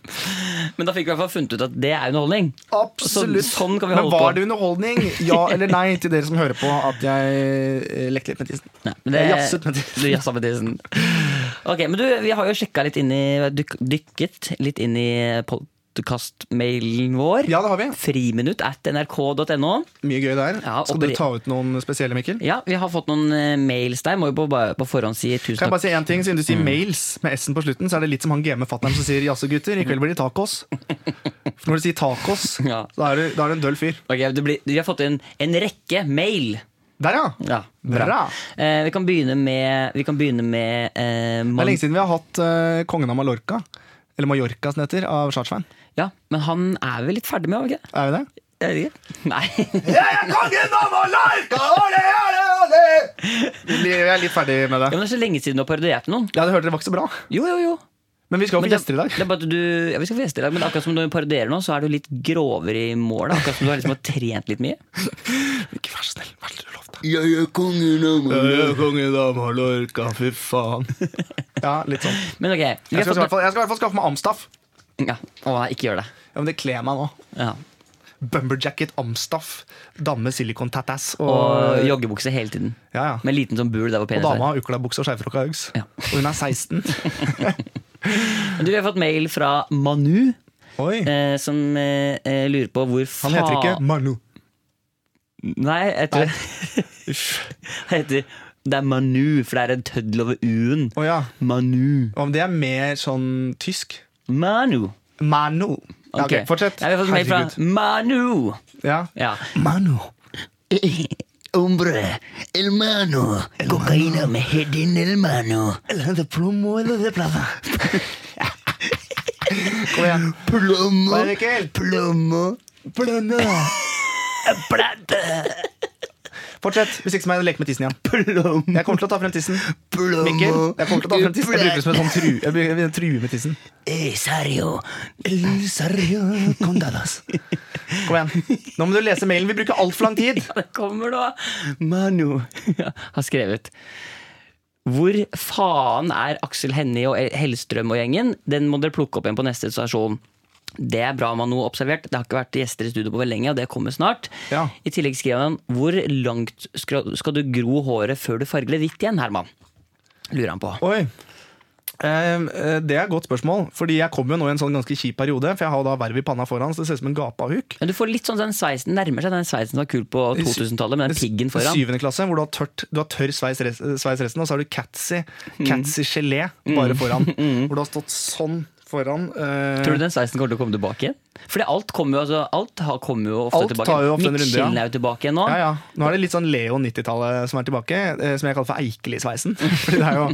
Speaker 3: Men da fikk vi i hvert fall funnet ut at det er underholdning.
Speaker 2: Absolutt.
Speaker 3: Så, sånn kan vi
Speaker 2: men
Speaker 3: holde
Speaker 2: var
Speaker 3: på.
Speaker 2: det underholdning? Ja eller nei til dere som hører på at jeg eh, lekte litt med tissen?
Speaker 3: Nei, men det,
Speaker 2: Jeg jasset med tissen.
Speaker 3: Du jassa med tissen. Ok, men du, vi har jo sjekka litt inn i dyk, Dykket litt inn i podkastmailen vår.
Speaker 2: Ja, det har vi.
Speaker 3: Friminutt at nrk.no.
Speaker 2: Mye gøy der.
Speaker 3: Ja,
Speaker 2: Skal
Speaker 3: og-
Speaker 2: du ta ut noen spesielle, Mikkel?
Speaker 3: Ja, vi har fått noen eh, mails der. Må jo på, bare på forhånd si
Speaker 2: Kan
Speaker 3: tusen
Speaker 2: jeg
Speaker 3: takk. Mm.
Speaker 2: bare si en ting, Siden du sier mails med S-en på slutten, så er det litt som han gamet fatter'n som sier 'jaså, gutter, i kveld blir det tacos'. For når du sier tacos,
Speaker 3: Ja.
Speaker 2: da er du, da er du en døll fyr.
Speaker 3: Ok, det blir, vi har fått inn en rekke mail.
Speaker 2: Der, ja! Det
Speaker 3: Ja, bra.
Speaker 2: Bra.
Speaker 3: Eh, vi kan begynne med, vi kan begynne med eh,
Speaker 2: er
Speaker 3: man,
Speaker 2: lenge siden vi har hatt eh, kongen av Mallorca. Eller Mallorca, som det heter, av Chartsvein.
Speaker 3: Ja, Men han er vi litt ferdig med, var vi ikke?
Speaker 2: Er vi det?
Speaker 3: Er vi ikke? Nei.
Speaker 2: Jeg er kongen av Mallorca! Ole, ole, ole! Vi blir- Vi er litt ferdig med
Speaker 3: Ja,
Speaker 2: det.
Speaker 3: men det er så lenge siden du har parodiert noen.
Speaker 2: Ja, det hørte dere var ikke så bra.
Speaker 3: Jo, jo, jo.
Speaker 2: Men vi skal jo
Speaker 3: Men
Speaker 2: få gjester i dag.
Speaker 3: Det er bare at du, ja, vi skal få gjester i dag, men akkurat som når du parodierer nå, så er du litt grovere i målet. Akkurat som du har liksom har trent litt mye.
Speaker 2: Ikke vær så snill. Vær så snill, lov deg.
Speaker 5: Jeg er kongen av
Speaker 2: Jeg er kongen av Mallorca, fy faen. Ja, litt sånn.
Speaker 3: Men ok. Vi
Speaker 2: Jeg
Speaker 3: har
Speaker 2: skal, i hvert
Speaker 3: fått,
Speaker 2: fall, jeg skal i hvert fall skaffe meg Amstaff.
Speaker 3: ja, å, nei, ikke gjør det.
Speaker 2: Ja, men det kler meg nå.
Speaker 3: Ja.
Speaker 2: Bumberjacket, amstaff, damme silicon tattass og,
Speaker 3: Og
Speaker 2: ja,
Speaker 3: joggebukse hele tiden.
Speaker 2: ja.
Speaker 3: Med liten sånn bul der hvor
Speaker 2: og
Speaker 3: penis
Speaker 2: dama
Speaker 3: er.
Speaker 2: har uklabukse og skeivrokka Uggs.
Speaker 3: Ja.
Speaker 2: Og hun er 16.
Speaker 3: Men Du, Vi har fått mail fra Manu,
Speaker 2: Oi.
Speaker 3: eh, som eh, eh, lurer på hvor faen
Speaker 2: Han heter ikke Manu.
Speaker 3: Nei, jeg tror Han heter Det er Manu, for det er en tøddel over u-en.
Speaker 2: Å ja.
Speaker 3: Manu.
Speaker 2: Om det er mer sånn tysk?
Speaker 3: Manu.
Speaker 2: Manu. Ja,
Speaker 3: Ok.
Speaker 2: ok, fortsett.
Speaker 3: Nei, vi har fått mail fra Manu.
Speaker 2: Ja.
Speaker 3: Ja.
Speaker 2: Manu.
Speaker 3: Ombre, el mano, cocaína me hedin el mano.
Speaker 2: Kom igjen.
Speaker 3: Plomo,
Speaker 2: Bare Mikkel.
Speaker 3: plomo, plante,
Speaker 2: Fortsett. Hvis ikke så må jeg leke med tissen igjen.
Speaker 3: plomo,
Speaker 2: Jeg kommer til å ta frem tissen.
Speaker 3: plomo.
Speaker 2: Mikkel, jeg kommer til å ta frem tissen. Jeg bruker det som en sånn tru, jeg bruker, jeg truer med tissen.
Speaker 3: Eh, Sario.
Speaker 2: Kom igjen. Nå må du lese mailen. Vi bruker altfor lang tid.
Speaker 3: Det kommer da. Manu ja, har skrevet. Hvor faen er Aksel Hennie og Hellstrøm og gjengen? Den må dere plukke opp igjen på neste stasjon. Det er bra Manu observert. Det har ikke vært gjester i studio på veldig lenge, og det kommer snart.
Speaker 2: Ja.
Speaker 3: I tillegg skriver han hvor langt skra- skal du gro håret før du farger det hvitt igjen, Herman? Lurer han på.
Speaker 2: Oi. Ehm, eh, Det er et godt spørsmål. Fordi Jeg kom jo nå i en sånn ganske kjip periode. For jeg har jo da verv i panna foran, så det ser ut som en gapahuk.
Speaker 3: Men du får litt sånn den sveisen nærmer seg den sveisen som var kul på 2000-tallet, med den piggen foran.
Speaker 2: Syvende klasse, hvor du har, tørt, du har tørr sveis, res- sveis resten, og så har du catsy,
Speaker 3: Mm.
Speaker 2: catsy gelé bare foran. Hvor du har stått sånn foran. eh,
Speaker 3: Tror du den sveisen kommer til å komme tilbake igjen? Fordi alt kommer jo, altså, alt har, kommer jo ofte
Speaker 2: Alt
Speaker 3: tilbake.
Speaker 2: tar jo ofte en runde, ja.
Speaker 3: Midtskillen er jo tilbake igjen nå.
Speaker 2: Ja, ja. Nå er det litt sånn Leo 90-tallet som er tilbake, eh, som jeg kaller for Eikeli-sveisen. Fordi det er jo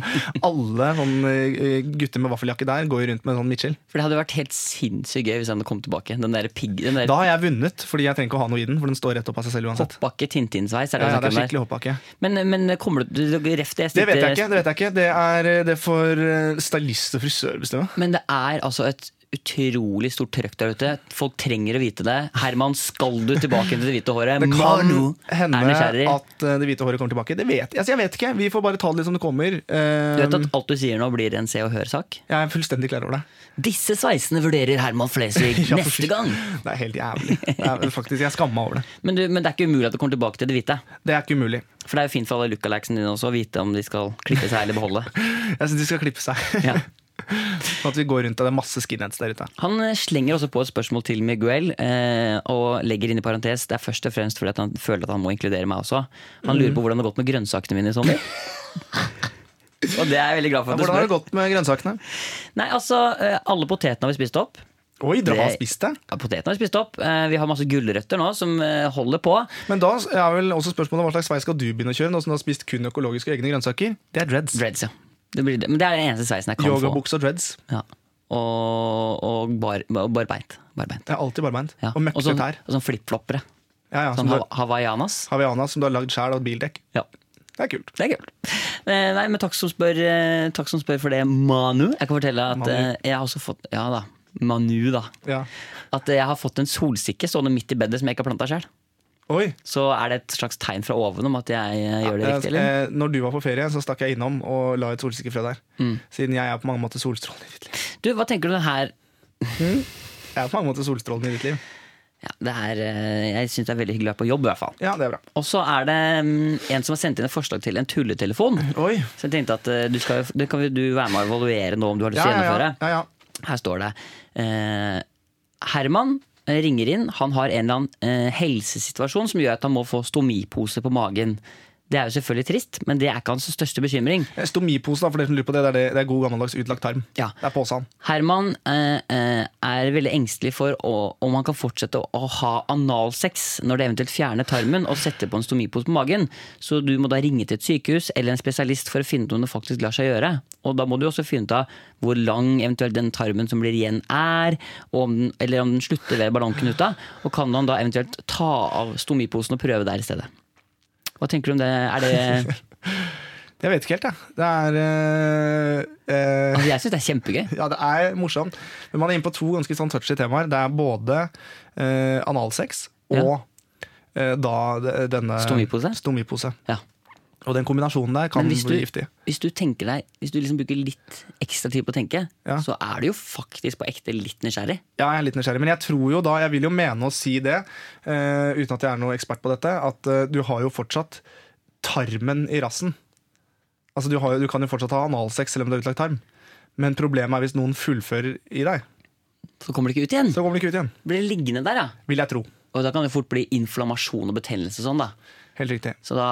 Speaker 2: alle sånn eh, gutter med vaffeljakke der går jo rundt med sånn midtskill.
Speaker 3: For det hadde vært helt sinnssykt gøy hvis han hadde kommet tilbake. Den der pigg... Den der
Speaker 2: Da har jeg vunnet, fordi jeg trenger ikke å ha noe i den, for den står rett opp av seg selv uansett.
Speaker 3: hoppbakke Tintin-sveis. Er
Speaker 2: Ja, ja, det
Speaker 3: det det
Speaker 2: er
Speaker 3: du snakker om der?
Speaker 2: skikkelig hoppbakke.
Speaker 3: Men, men kommer du til å refte jeg
Speaker 2: Det vet jeg
Speaker 3: sitter-
Speaker 2: ikke. Det vet jeg ikke. Det er eh, det får eh, stylist og frisør bestemme.
Speaker 3: Men det er altså et utrolig stort trøkk der ute. Folk trenger å vite det. Herman, skal du tilbake til det hvite håret?
Speaker 2: Det kan
Speaker 3: Manu er
Speaker 2: hende
Speaker 3: nysgjerrig.
Speaker 2: at eh, det hvite håret kommer tilbake. Det vet, altså, jeg vet ikke. Vi får bare ta det litt som det kommer.
Speaker 3: Du vet at
Speaker 2: Eh,
Speaker 3: alt du sier nå, blir en Se og Hør-sak?
Speaker 2: Jeg er fullstendig klar over det.
Speaker 3: Disse sveisene vurderer Herman Flesvig
Speaker 2: Ja, for
Speaker 3: neste
Speaker 2: fy-
Speaker 3: gang!
Speaker 2: Det er helt jævlig. Det er, faktisk, jeg skammer meg over det.
Speaker 3: Men, du, men det er ikke umulig at du kommer tilbake til det hvite.
Speaker 2: Det er ikke umulig.
Speaker 3: For det er jo fint for alle lookalikesene dine også å vite om de skal klippe seg eller beholde.
Speaker 2: Jeg syns de skal klippe seg.
Speaker 3: Ja.
Speaker 2: Sånn at vi går rundt og det er masse skinheads der ute.
Speaker 3: Han eh, slenger også på et spørsmål til Miguel, eh, og legger inn i parentes det er først og fremst fordi at han føler at han må inkludere meg også. Han
Speaker 2: Mm.
Speaker 3: lurer på hvordan det har gått med grønnsakene mine i sommer. og det er jeg veldig glad for at du
Speaker 2: Hvordan har
Speaker 3: spør.
Speaker 2: det gått med grønnsakene?
Speaker 3: Nei, altså, eh, alle potetene har vi spist opp.
Speaker 2: Oi, dere har
Speaker 3: Det-
Speaker 2: spist det?
Speaker 3: Ja, potetene har vi spist opp. Eh, Vi har masse gulrøtter nå som eh, holder på.
Speaker 2: Men da er vel også spørsmålet hva slags vei skal du begynne å kjøre nå som du har spist kun økologiske og egne grønnsaker? Det er dreads.
Speaker 3: Dreads, ja. Det blir, men det er den eneste sveisen jeg kan få.
Speaker 2: Yogabukse og dreads.
Speaker 3: Ja. Og, og bar, og barbeint. barbeint.
Speaker 2: Jeg er alltid barbeint.
Speaker 3: Ja.
Speaker 2: Og møkkete
Speaker 3: sånn,
Speaker 2: tær.
Speaker 3: og sånn flipfloppere.
Speaker 2: Ja, ja,
Speaker 3: Sånn
Speaker 2: som du,
Speaker 3: hav- hawaiianas.
Speaker 2: Haviana som du har lagd sjæl av et bildekk.
Speaker 3: Ja.
Speaker 2: Det er kult.
Speaker 3: Det er kult. Eh, Nei, men takk som spør, eh, takk som spør for det, Manu. Jeg kan fortelle at
Speaker 2: Manu.
Speaker 3: eh, jeg har også fått Ja da. Manu, da.
Speaker 2: Ja.
Speaker 3: At eh, jeg har fått en solsikke stående midt i bedet som jeg ikke har planta sjøl.
Speaker 2: Oi.
Speaker 3: Så er det et slags tegn fra oven om at jeg eh, gjør det riktig, eller?
Speaker 2: Eh, Når du var på ferie, så stakk jeg innom og la et solsikkefrø der.
Speaker 3: Mm.
Speaker 2: Siden jeg er på mange måter solstrålen i ditt liv.
Speaker 3: Du, hva tenker du om det her?
Speaker 2: Jeg er på mange måter solstrålen i ditt liv.
Speaker 3: Ja, det er, eh, jeg syns det er veldig hyggelig å være på jobb, i hvert fall.
Speaker 2: Ja, det er bra.
Speaker 3: Og så er det mm, en som har sendt inn et forslag til en tulletelefon.
Speaker 2: Oi.
Speaker 3: Så jeg tenkte at eh, du skal, det kan jo du være med å evaluere nå om du har lyst
Speaker 2: Ja,
Speaker 3: til å
Speaker 2: ja,
Speaker 3: gjennomføre.
Speaker 2: ja. ja, ja.
Speaker 3: Her står det eh, Herman ringer inn. Han har en eller annen eh, helsesituasjon som gjør at han må få stomipose på magen. Det er jo selvfølgelig trist, men det er ikke hans største bekymring.
Speaker 2: Stomipose, da, for dere som lurer på det, det er, det, det er god gammeldags utlagt tarm.
Speaker 3: Ja.
Speaker 2: Det er påsan.
Speaker 3: Herman eh, eh, er veldig engstelig for å, om han kan fortsette å, å ha analsex når det eventuelt fjerner tarmen og setter på en stomipose på magen. Så du må da ringe til et sykehus eller en spesialist for å finne ut om det faktisk lar seg gjøre. Og da må du også finne ut av hvor lang eventuelt den tarmen som blir igjen er, og om den, eller om den slutter ved ballongknuta. Og kan han da eventuelt ta av stomiposen og prøve der i stedet. Hva tenker du om det? Er det
Speaker 2: Jeg vet ikke helt, jeg. Det er eh, eh,
Speaker 3: altså, Jeg syns det er kjempegøy.
Speaker 2: Ja, det er morsomt. Men man er inne på to ganske sånn touchy temaer. Det er både eh, analsex og eh, da de- denne
Speaker 3: Stomipose?
Speaker 2: stomipose.
Speaker 3: Ja.
Speaker 2: Og den kombinasjonen der kan
Speaker 3: Men hvis du,
Speaker 2: bli giftig.
Speaker 3: hvis du tenker deg Hvis du liksom bruker litt ekstra tid på å tenke,
Speaker 2: Ja.
Speaker 3: så er du jo faktisk på ekte litt nysgjerrig.
Speaker 2: Ja, jeg er litt nysgjerrig, men jeg tror jo da, jeg vil jo mene å si det, eh, uten at jeg er noe ekspert på dette, at eh, du har jo fortsatt tarmen i rassen. Altså, du, har jo, du kan jo fortsatt ha analsex selv om du har utlagt tarm. Men problemet er hvis noen fullfører i deg,
Speaker 3: Så kommer det ikke ut igjen.
Speaker 2: så kommer du ikke ut igjen.
Speaker 3: Blir det liggende der, ja.
Speaker 2: Vil jeg tro.
Speaker 3: Og da kan det fort bli inflammasjon og betennelse og sånn, da.
Speaker 2: Helt riktig.
Speaker 3: Så da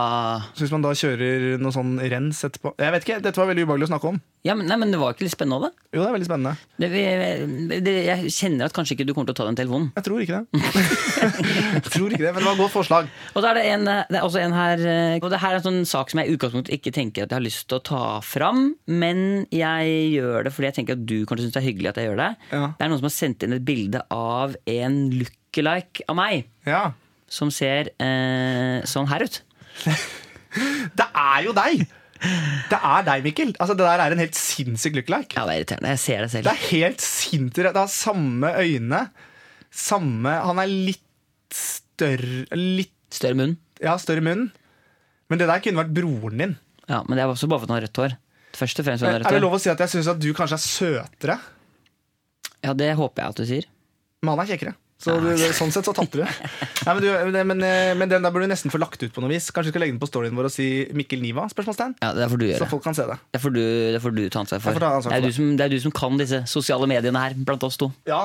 Speaker 2: Så hvis man da kjører noe sånn rens etterpå Jeg vet ikke, dette var veldig ubehagelig å snakke om.
Speaker 3: ja, men, Nei, men det var ikke litt spennende av det?
Speaker 2: Jo, det er veldig spennende.
Speaker 3: Det, vi- det? Jeg kjenner at kanskje ikke du kommer til å ta den telefonen.
Speaker 2: Jeg tror ikke det. jeg tror ikke det, Men det var et godt forslag.
Speaker 3: Og da er det, en, eh, det er også en her eh, Og det her er en sånn sak som jeg i utgangspunktet ikke tenker at jeg har lyst til å ta fram, men jeg gjør det fordi jeg tenker at du kanskje syns det er hyggelig at jeg gjør det.
Speaker 2: Ja.
Speaker 3: Det er noen som har sendt inn et bilde av en lookalike av meg
Speaker 2: Ja.
Speaker 3: som ser eh, sånn her ut.
Speaker 2: Det er jo deg! Det er deg, Mikkel. Altså, Det der er en helt sinnssyk look-like.
Speaker 3: Ja, det er irriterende. Jeg ser det selv.
Speaker 2: Det er helt sinnssykt. Det har samme øyne. Samme Han er litt større Litt
Speaker 3: Større munn.
Speaker 2: Ja, større munn. Men det der kunne vært broren din.
Speaker 3: Ja, men det er også bare for at han har rødt hår. Først og fremst for at
Speaker 2: Er
Speaker 3: han
Speaker 2: det
Speaker 3: har rødt hår.
Speaker 2: lov å si at jeg syns at du kanskje er søtere?
Speaker 3: Ja, det håper jeg at du sier.
Speaker 2: Men han er kjekkere. Så du, sånn sett så tapte du. Nei, men, du men, eh, men, men den der burde du nesten få lagt ut på noe vis. Kanskje du skal legge den på storyen vår og si Mikkel Niva? spørsmålstegn
Speaker 3: Ja, Det får du
Speaker 2: Så
Speaker 3: gjøre.
Speaker 2: folk kan se det.
Speaker 3: Det får du, det får du ta ansvar for.
Speaker 2: Jeg får ta ansvar for
Speaker 3: det, er du
Speaker 2: det.
Speaker 3: som, det er du som kan disse sosiale mediene her, blant oss to.
Speaker 2: Ja,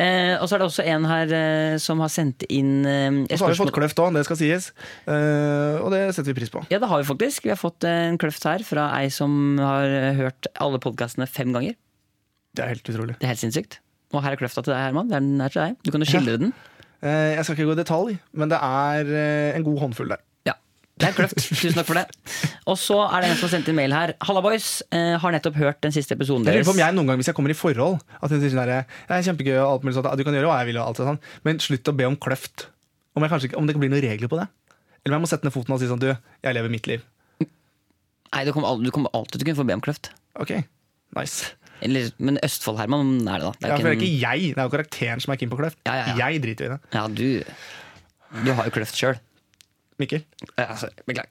Speaker 3: Eh, og så er det også en her eh, som har sendt inn eh, et
Speaker 2: Og så har vi fått
Speaker 3: spørsmål.
Speaker 2: kløft òg, det skal sies. Eh, og det setter vi pris på.
Speaker 3: Ja, det har vi faktisk. Vi har fått eh, en kløft her fra ei som har eh, hørt alle podkastene fem ganger.
Speaker 2: Det er helt utrolig.
Speaker 3: Det er helt sinnssykt. Og her er kløfta til deg, Herman. Den er til deg. Du kan jo skildre den.
Speaker 2: Eh, jeg skal ikke gå i detalj, men det er eh, en god håndfull der.
Speaker 3: Ja. Det er kløft. Tusen takk for det. Og så er det en som har sendt inn mail her. Halla, boys. Eh, har nettopp hørt den siste episoden
Speaker 2: Jeg
Speaker 3: deres.
Speaker 2: lurer på om jeg noen gang, hvis jeg kommer i forhold At jeg sier sånn der, det er kjempegøy og alt mulig sånt Du kan gjøre hva jeg vil og alt sånt Men slutt å be om kløft Om, jeg kanskje, ikke- om det ikke blir noen regler på det Eller om jeg må sette ned foten og si sånn Du, jeg lever mitt liv
Speaker 3: Nei, du kommer, al- du kommer alltid til å kunne få be om kløft.
Speaker 2: Ok, nice
Speaker 3: Eller, men Østfold, Herman, er det da. Det er
Speaker 2: ja, for det er
Speaker 3: en-
Speaker 2: ikke jeg, det er jo karakteren som er keen på kløft
Speaker 3: Ja, ja, ja.
Speaker 2: Jeg driter jo i det
Speaker 3: ja, du, du har jo kløft sjøl.
Speaker 2: Mikkel
Speaker 3: Beklager.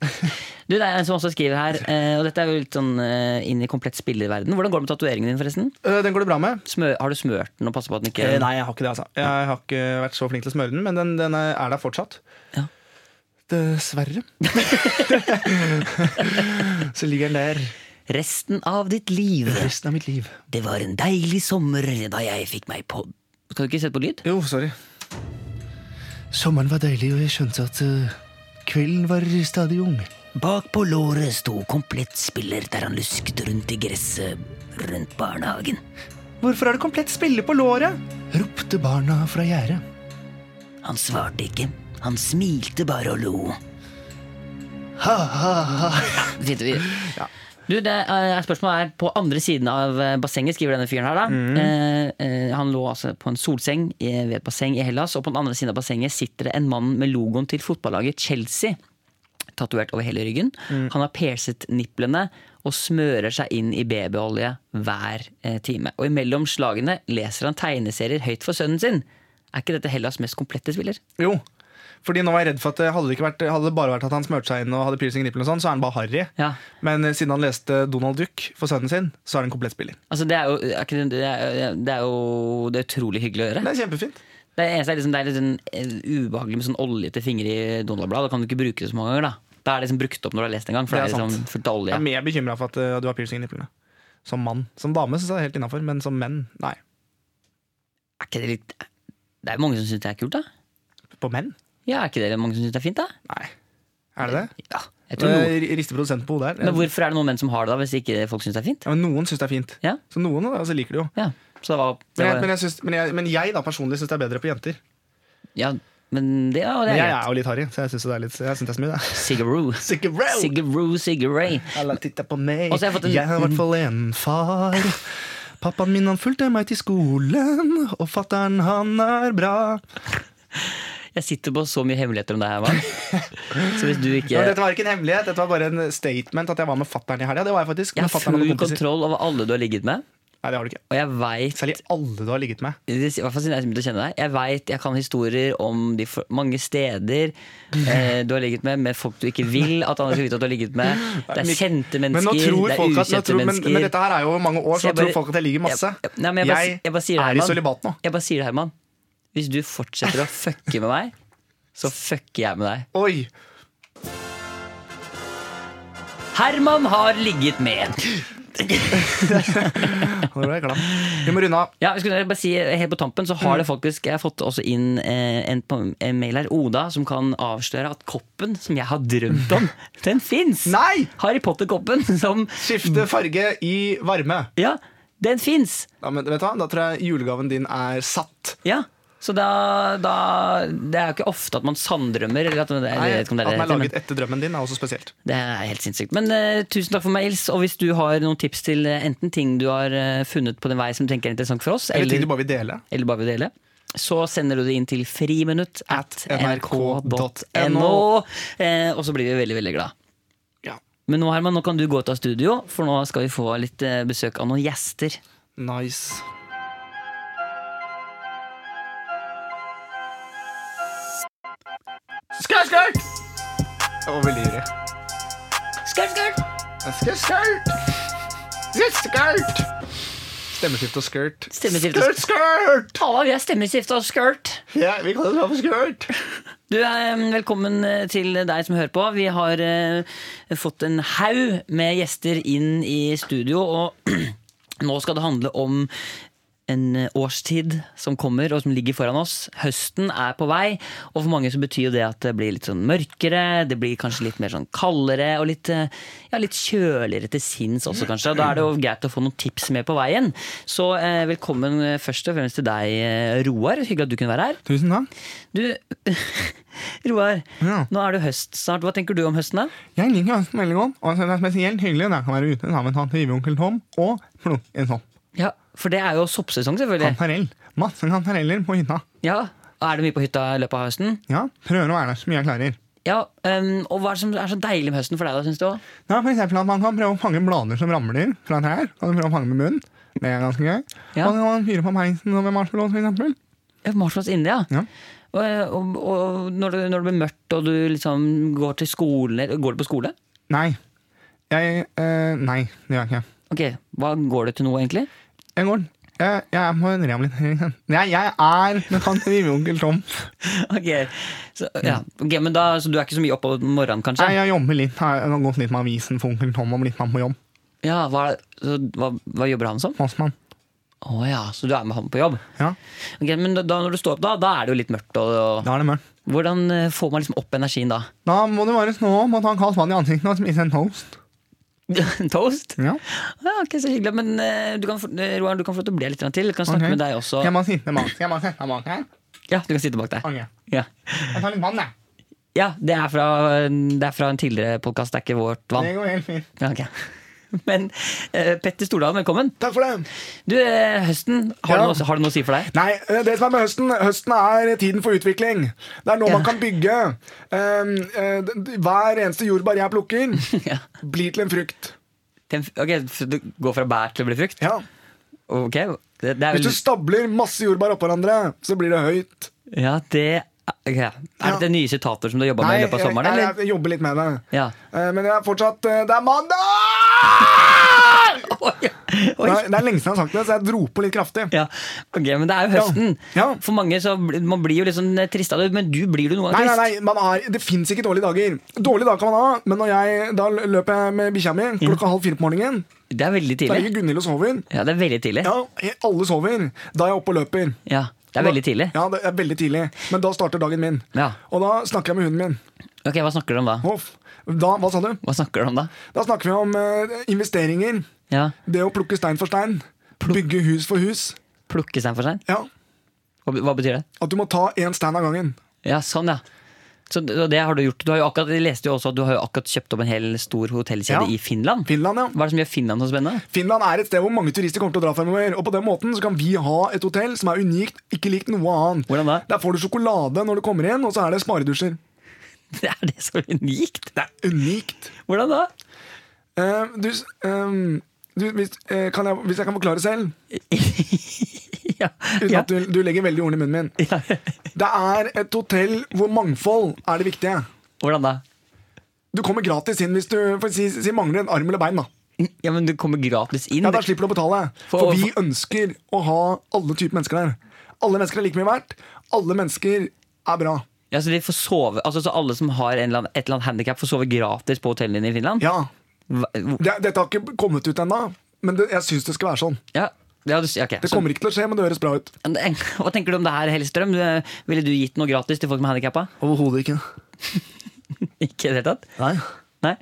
Speaker 3: Du, det er en som også skriver her, eh, og dette er jo litt sånn eh, inn i komplett spillerverden. Hvordan går det med tatoveringen din, forresten?
Speaker 2: Øh, Den går det bra med
Speaker 3: Smø har du smørt den og passa på at den ikke
Speaker 2: Eh, Nei, jeg har ikke det altså Jeg har ikke vært så flink til å smøre den Men den, den er er der fortsatt
Speaker 3: Ja.
Speaker 2: Dessverre Så ligger den der
Speaker 3: Resten av ditt liv.
Speaker 2: Resten av mitt liv
Speaker 3: Det var en deilig sommer da jeg fikk meg på Skal du ikke sette på lyd?
Speaker 2: Jo, sorry. Sommeren var deilig, og jeg skjønte at eh, kvelden var stadig ung.
Speaker 3: Bak på låret sto komplett spiller der han lusket rundt i gresset rundt barnehagen.
Speaker 2: Hvorfor har du komplett spille på låret? ropte barna fra gjerdet.
Speaker 3: Han svarte ikke. Han smilte bare og lo.
Speaker 2: Ha-ha-ha.
Speaker 3: Fint, vi. Du, det er, spørsmålet er på andre siden av eh, bassenget, skriver denne fyren her. da. Eh, eh, han lå altså på en solseng i, ved et basseng i Hellas, og på den andre siden av bassenget sitter det en mann med logoen til fotballaget Chelsea tatovert over hele ryggen. Han har perset nipplene og smører seg inn i babyolje hver eh, time. Og imellom slagene leser han tegneserier høyt for sønnen sin. Er ikke dette Hellas mest komplette spiller?
Speaker 2: Jo, fordi nå var jeg redd for at eh, hadde det, ikke vært, hadde det bare vært at han smørte seg inn og hadde piercing i nippelen, og sånn, så er han bare harry.
Speaker 3: Ja.
Speaker 2: Men eh, siden han leste Donald Duck for sønnen sin, så er han komplett spiller.
Speaker 3: Altså, det er jo, er ikke det, det er, det er jo det er utrolig hyggelig å gjøre.
Speaker 2: Det er kjempefint.
Speaker 3: Det eneste er liksom, det er litt sånn, eh, ubehagelig med sånn oljete fingre i Donald-blad. Da kan du ikke bruke det så mange ganger. Da Da er det liksom brukt opp når du har lest det en gang. For det er,
Speaker 2: Det er
Speaker 3: liksom
Speaker 2: sant.
Speaker 3: fullt av
Speaker 2: Jeg
Speaker 3: olje.
Speaker 2: er mer bekymra for at eh, du har piercing i nipplene. Som mann. Som dame så er det helt innafor, men som menn, nei.
Speaker 3: Er ikke det litt Det er jo mange som syns det er kult, da.
Speaker 2: På menn?
Speaker 3: Ja, er ikke det mange som syns det er fint, da?
Speaker 2: Nei. Er det det?
Speaker 3: Ja, jeg tror noen.
Speaker 2: Eh, Rister produsenten på hodet her.
Speaker 3: Men hvorfor er det noen menn som har det, da, hvis ikke folk syns det er fint?
Speaker 2: Ja, men noen syns det er fint.
Speaker 3: Ja.
Speaker 2: Så noen altså, liker det jo.
Speaker 3: Ja, så det var, det
Speaker 2: Men jeg,
Speaker 3: var
Speaker 2: men jeg, syns- men jeg, men jeg da personlig syns det er bedre på jenter.
Speaker 3: Ja, men det, ja,
Speaker 2: Men
Speaker 3: det er
Speaker 2: jeg er
Speaker 3: greit.
Speaker 2: jo litt harry, så jeg syns det er litt Jeg synes det er så mye, det.
Speaker 3: Sigaroo.
Speaker 2: Cigarette!
Speaker 3: Sigaroo, Sigaray.
Speaker 2: Alle titter på meg.
Speaker 3: Og så har
Speaker 2: Jeg,
Speaker 3: jeg fått en-
Speaker 2: har i hvert fall en far. Pappaen min han fulgte meg til skolen, og fattern han er bra.
Speaker 3: Jeg sitter på så mye hemmeligheter om deg, Herman. Så hvis du ikke
Speaker 2: Ja, dette var ikke en hemmelighet, dette var bare en statement at jeg var med fattern i helga. Det var jeg faktisk.
Speaker 3: Jeg
Speaker 2: med
Speaker 3: har
Speaker 2: fatteren og
Speaker 3: full
Speaker 2: noen kompiser.
Speaker 3: kontroll over alle du har ligget med.
Speaker 2: Nei, det har du ikke.
Speaker 3: Og jeg veit
Speaker 2: Særlig alle du har ligget med.
Speaker 3: i det- i hvert fall siden jeg begynte å kjenne deg. Jeg vet, jeg kan historier om de for, mange steder eh, du har ligget med, med folk du ikke vil at andre skal vite at du har ligget med. Det er
Speaker 2: Mik-
Speaker 3: kjente
Speaker 2: Men nå
Speaker 3: mennesker,
Speaker 2: tror
Speaker 3: det er
Speaker 2: folk at, nå
Speaker 3: ukjente
Speaker 2: tror, men,
Speaker 3: mennesker.
Speaker 2: men dette her er jo mange år,
Speaker 3: Så
Speaker 2: så
Speaker 3: jeg
Speaker 2: da tror
Speaker 3: bare-
Speaker 2: folk at jeg ligger masse.
Speaker 3: Jeg, nei, men jeg, bare, jeg bare sier
Speaker 2: er
Speaker 3: det,
Speaker 2: i
Speaker 3: Herman.
Speaker 2: sølibat nå.
Speaker 3: Jeg bare sier det, Herman. Hvis du fortsetter å fucke med meg, så fucker jeg med deg.
Speaker 2: Oi!
Speaker 3: Herman har ligget med.
Speaker 2: Nå ble jeg glad. Vi må runde av.
Speaker 3: Ja, jeg skulle bare si Helt på tampen så har det
Speaker 2: Mm.
Speaker 3: faktisk Jeg har fått også inn eh, en, på- en mail her, Oda, som kan avsløre at koppen som jeg har drømt om, den fins!
Speaker 2: Nei!
Speaker 3: Harry Potter-koppen som Mm.
Speaker 2: Skifte farge i varme.
Speaker 3: Ja, den fins!
Speaker 2: Ja, men vet du hva? Da tror jeg julegaven din er satt.
Speaker 3: Ja. Så da, da Det er jo ikke ofte at man sanndrømmer. Eller at, eller, jeg vet ikke om det
Speaker 2: At
Speaker 3: er det
Speaker 2: den er
Speaker 3: heter, men-
Speaker 2: laget etter drømmen din, er også spesielt.
Speaker 3: Det er helt sinnssykt. Men eh, tusen takk for mails. Og hvis du har noen tips til eh, enten ting du har eh, funnet på den vei som du tenker er interessant for oss,
Speaker 2: Eller ting
Speaker 3: eller,
Speaker 2: du bare vil dele.
Speaker 3: eller bare vil dele, så sender du det inn til friminutt at nrk.no. Eh, og så blir vi veldig, veldig glad.
Speaker 2: Ja.
Speaker 3: Men nå Herman, nå kan du gå ut av studio, for nå skal vi få litt eh, besøk av noen gjester.
Speaker 2: Nice. Skau, skau! Jeg var veldig ivrig.
Speaker 3: Skurt, skurt!
Speaker 2: Jeg skal skørt! Jeg skal skørt! Stemmeskift og skørt.
Speaker 3: Stemmeskift og
Speaker 2: skørt. Skørt,
Speaker 3: Halla, vi er stemmeskiftet og skurt!
Speaker 2: Ja, vi kaller det bare for skørt.
Speaker 3: Du, eh, Velkommen eh, til deg som hører på. Vi har eh, fått en haug med gjester inn i studio, og nå skal det handle om en eh, årstid som kommer og som ligger foran oss. Høsten er på vei, og for mange så betyr jo det at det blir litt sånn mørkere, det blir kanskje litt mer sånn kaldere og litt, eh, ja, litt kjøligere til sinns også, kanskje. Da er det jo greit å få noen tips med på veien. Så eh, velkommen eh, først og fremst til deg, eh, Roar. Hyggelig at du kunne være her.
Speaker 2: Tusen takk.
Speaker 3: Du, Roar,
Speaker 2: Ja.
Speaker 3: nå er det høst snart. Hva tenker du om høsten? da?
Speaker 2: Jeg liker høsten veldig godt, og jeg synes det er spesielt hyggelig når jeg kan være ute sammen med tante Ive og onkel Tom og plukke en sånn. sopp.
Speaker 3: Ja, For det er jo soppsesong, selvfølgelig.
Speaker 2: Kantarell. Masse kantareller på hytta.
Speaker 3: Ja, og Er det mye på hytta i løpet av høsten?
Speaker 2: Ja, prøver å være der så mye jeg klarer.
Speaker 3: Ja, øhm, Og hva er det som er så deilig med høsten for deg, da, syns du? også?
Speaker 2: Ja, for eksempel at man kan prøve å fange blader som ramler fra trær. Kan du prøve å fange med munnen. Det er ganske gøy. Og
Speaker 3: Ja.
Speaker 2: så kan man fyre på peisen og med marshmallows, for eksempel.
Speaker 3: Ja, Marshmallows India.
Speaker 2: Ja.
Speaker 3: Og, og, og når, det, når det blir mørkt og du liksom går til skolen Går du på skole?
Speaker 2: Nei. Jeg eh, Nei, det gjør jeg ikke.
Speaker 3: Ok, Hva går det til nå, egentlig?
Speaker 2: Jeg går jeg, jeg er på en rehabilitering. Nei, jeg er med tante Vivi og onkel Tom.
Speaker 3: Ok, så, ja. ok, men da, så du er ikke så mye oppe om morgenen, kanskje?
Speaker 2: Nei, jeg jobber litt. Jeg har gått litt med avisen for onkel Tom og blitt med ham på jobb.
Speaker 3: Ja, hva, så, hva, hva jobber han som?
Speaker 2: Postmann.
Speaker 3: Å ja, så du er med han på jobb?
Speaker 2: Ja,
Speaker 3: Ok, men da, da når du står opp, da, da er det jo litt mørkt. Og, og,
Speaker 2: da er det mørkt.
Speaker 3: Hvordan eh, får man liksom opp energien da?
Speaker 2: Da må du bare stå opp og ta en kaldt vann i ansiktet og spise en toast.
Speaker 3: Toast?
Speaker 2: Ja.
Speaker 3: Ja, ok, så hyggelig. Men eh, du kan, få- eh, Roar, du kan få lov til å bli her litt grann til. Jeg kan snakke
Speaker 2: Ok.
Speaker 3: med deg også.
Speaker 2: Jeg må sitte bak, jeg må sitte bak her.
Speaker 3: Ja, du kan sitte bak der.
Speaker 2: Ok.
Speaker 3: Ja,
Speaker 2: Jeg tar litt vann, jeg.
Speaker 3: ja det, er fra, det er fra en tidligere podkast, det er ikke vårt
Speaker 2: Det
Speaker 3: vann.
Speaker 2: går helt fint.
Speaker 3: Ja, ok. Men eh, Petter Stordalen, velkommen.
Speaker 2: Takk for det.
Speaker 3: Du, eh, høsten, har,
Speaker 2: Ja.
Speaker 3: du noe, har du noe å si for deg?
Speaker 2: Nei, eh, det som er med høsten Høsten er tiden for utvikling. Det er nå
Speaker 3: Ja.
Speaker 2: man kan bygge. Um, eh, d- d- hver eneste jordbær jeg plukker,
Speaker 3: ja.
Speaker 2: blir til en frukt.
Speaker 3: Ten, ok, så Du går fra bær til å bli frukt?
Speaker 2: Ja.
Speaker 3: Ok, det, det er
Speaker 2: Hvis
Speaker 3: vel
Speaker 2: du stabler masse jordbær oppå hverandre, så blir det høyt.
Speaker 3: Ja, det ok. Er dette nye sitater som du har jobba med i løpet av sommeren?
Speaker 2: jeg,
Speaker 3: eller?
Speaker 2: jeg, jeg jobber litt med det.
Speaker 3: Ja.
Speaker 2: Eh, men jeg er fortsatt eh, Det er mandag!
Speaker 3: Oi,
Speaker 2: Det
Speaker 3: oi.
Speaker 2: er, det er lenge siden jeg har sagt det, så jeg dro på litt kraftig.
Speaker 3: Ja, ok, Men det er jo høsten.
Speaker 2: Ja.
Speaker 3: For mange så blir- man blir jo litt sånn trist av det, men du blir jo noe av
Speaker 2: Nei,
Speaker 3: trist.
Speaker 2: nei, nei, man er, Det fins ikke dårlige dager. Dårlige dager kan man ha, men når jeg, da løper jeg med bikkja mi klokka halv fire på morgenen.
Speaker 3: Det er
Speaker 2: Da
Speaker 3: veldig Mm. tidlig.
Speaker 2: ligger Gunhild og sover.
Speaker 3: Ja, det er veldig tidlig.
Speaker 2: Ja, alle sover. Da er jeg oppe og løper.
Speaker 3: Ja, det er veldig tidlig.
Speaker 2: Ja, det er veldig tidlig. Men da starter dagen min.
Speaker 3: Ja.
Speaker 2: Og da snakker jeg med hunden min.
Speaker 3: Ok, Hva snakker du om da?
Speaker 2: Hoff. Da, hva sa du?
Speaker 3: Hva snakker du om da?
Speaker 2: Da snakker vi om eh, investeringer.
Speaker 3: Ja,
Speaker 2: Det å plukke stein for stein. Bygge hus for hus.
Speaker 3: Plukke stein for stein?
Speaker 2: Ja.
Speaker 3: Hva, hva betyr det?
Speaker 2: At du må ta én stein av gangen.
Speaker 3: Ja, sånn, ja. Så det, og det har du gjort. Du har jo akkurat, jeg leste jo også at du har jo akkurat kjøpt opp en hel stor hotellkjede
Speaker 2: Ja.
Speaker 3: i Finland.
Speaker 2: Finland, ja.
Speaker 3: Hva er det som gjør Finland så spennende?
Speaker 2: Finland er et sted hvor mange turister kommer til å dra fremover. Og på den måten så kan vi ha et hotell som er unikt, ikke likt noe annet.
Speaker 3: Hvordan da?
Speaker 2: Der får du sjokolade når du kommer inn, og så er det sparedusjer.
Speaker 3: Er det så unikt?
Speaker 2: Unikt.
Speaker 3: Hvordan da?
Speaker 2: Eh, du, s- eh, du, hvis, eh, kan jeg, hvis jeg kan forklare selv,
Speaker 3: ja.
Speaker 2: uten
Speaker 3: Ja.
Speaker 2: at du, du legger veldig ordene i munnen min.
Speaker 3: Ja.
Speaker 2: Det er et hotell hvor mangfold er det viktige.
Speaker 3: Hvordan da?
Speaker 2: Du kommer gratis inn hvis du for si, si mangler en arm eller bein. da
Speaker 3: Ja, men Du kommer gratis inn.
Speaker 2: Ja, Da slipper du å betale.
Speaker 3: For-
Speaker 2: For, vi ønsker å ha alle typer mennesker der. Alle mennesker er like mye verdt. Alle mennesker er bra.
Speaker 3: Ja, så, de får sove, altså, så alle som har en eller annen, et eller annet handikap, får sove gratis på hotellene dine i Finland?
Speaker 2: Ja,
Speaker 3: Hva-
Speaker 2: det, Dette har ikke kommet ut ennå, men det, jeg syns det skal være sånn.
Speaker 3: Ja, ja, du, s- ja, ok.
Speaker 2: Det
Speaker 3: Så-
Speaker 2: kommer ikke til å skje, men det høres bra ut.
Speaker 3: Hva tenker du om det her, Hellstrøm? Du- eh, Ville du gitt noe gratis til folk med handikappa?
Speaker 2: Overhodet ikke.
Speaker 3: Ikke i det hele tatt?
Speaker 2: Nei.
Speaker 3: Nei.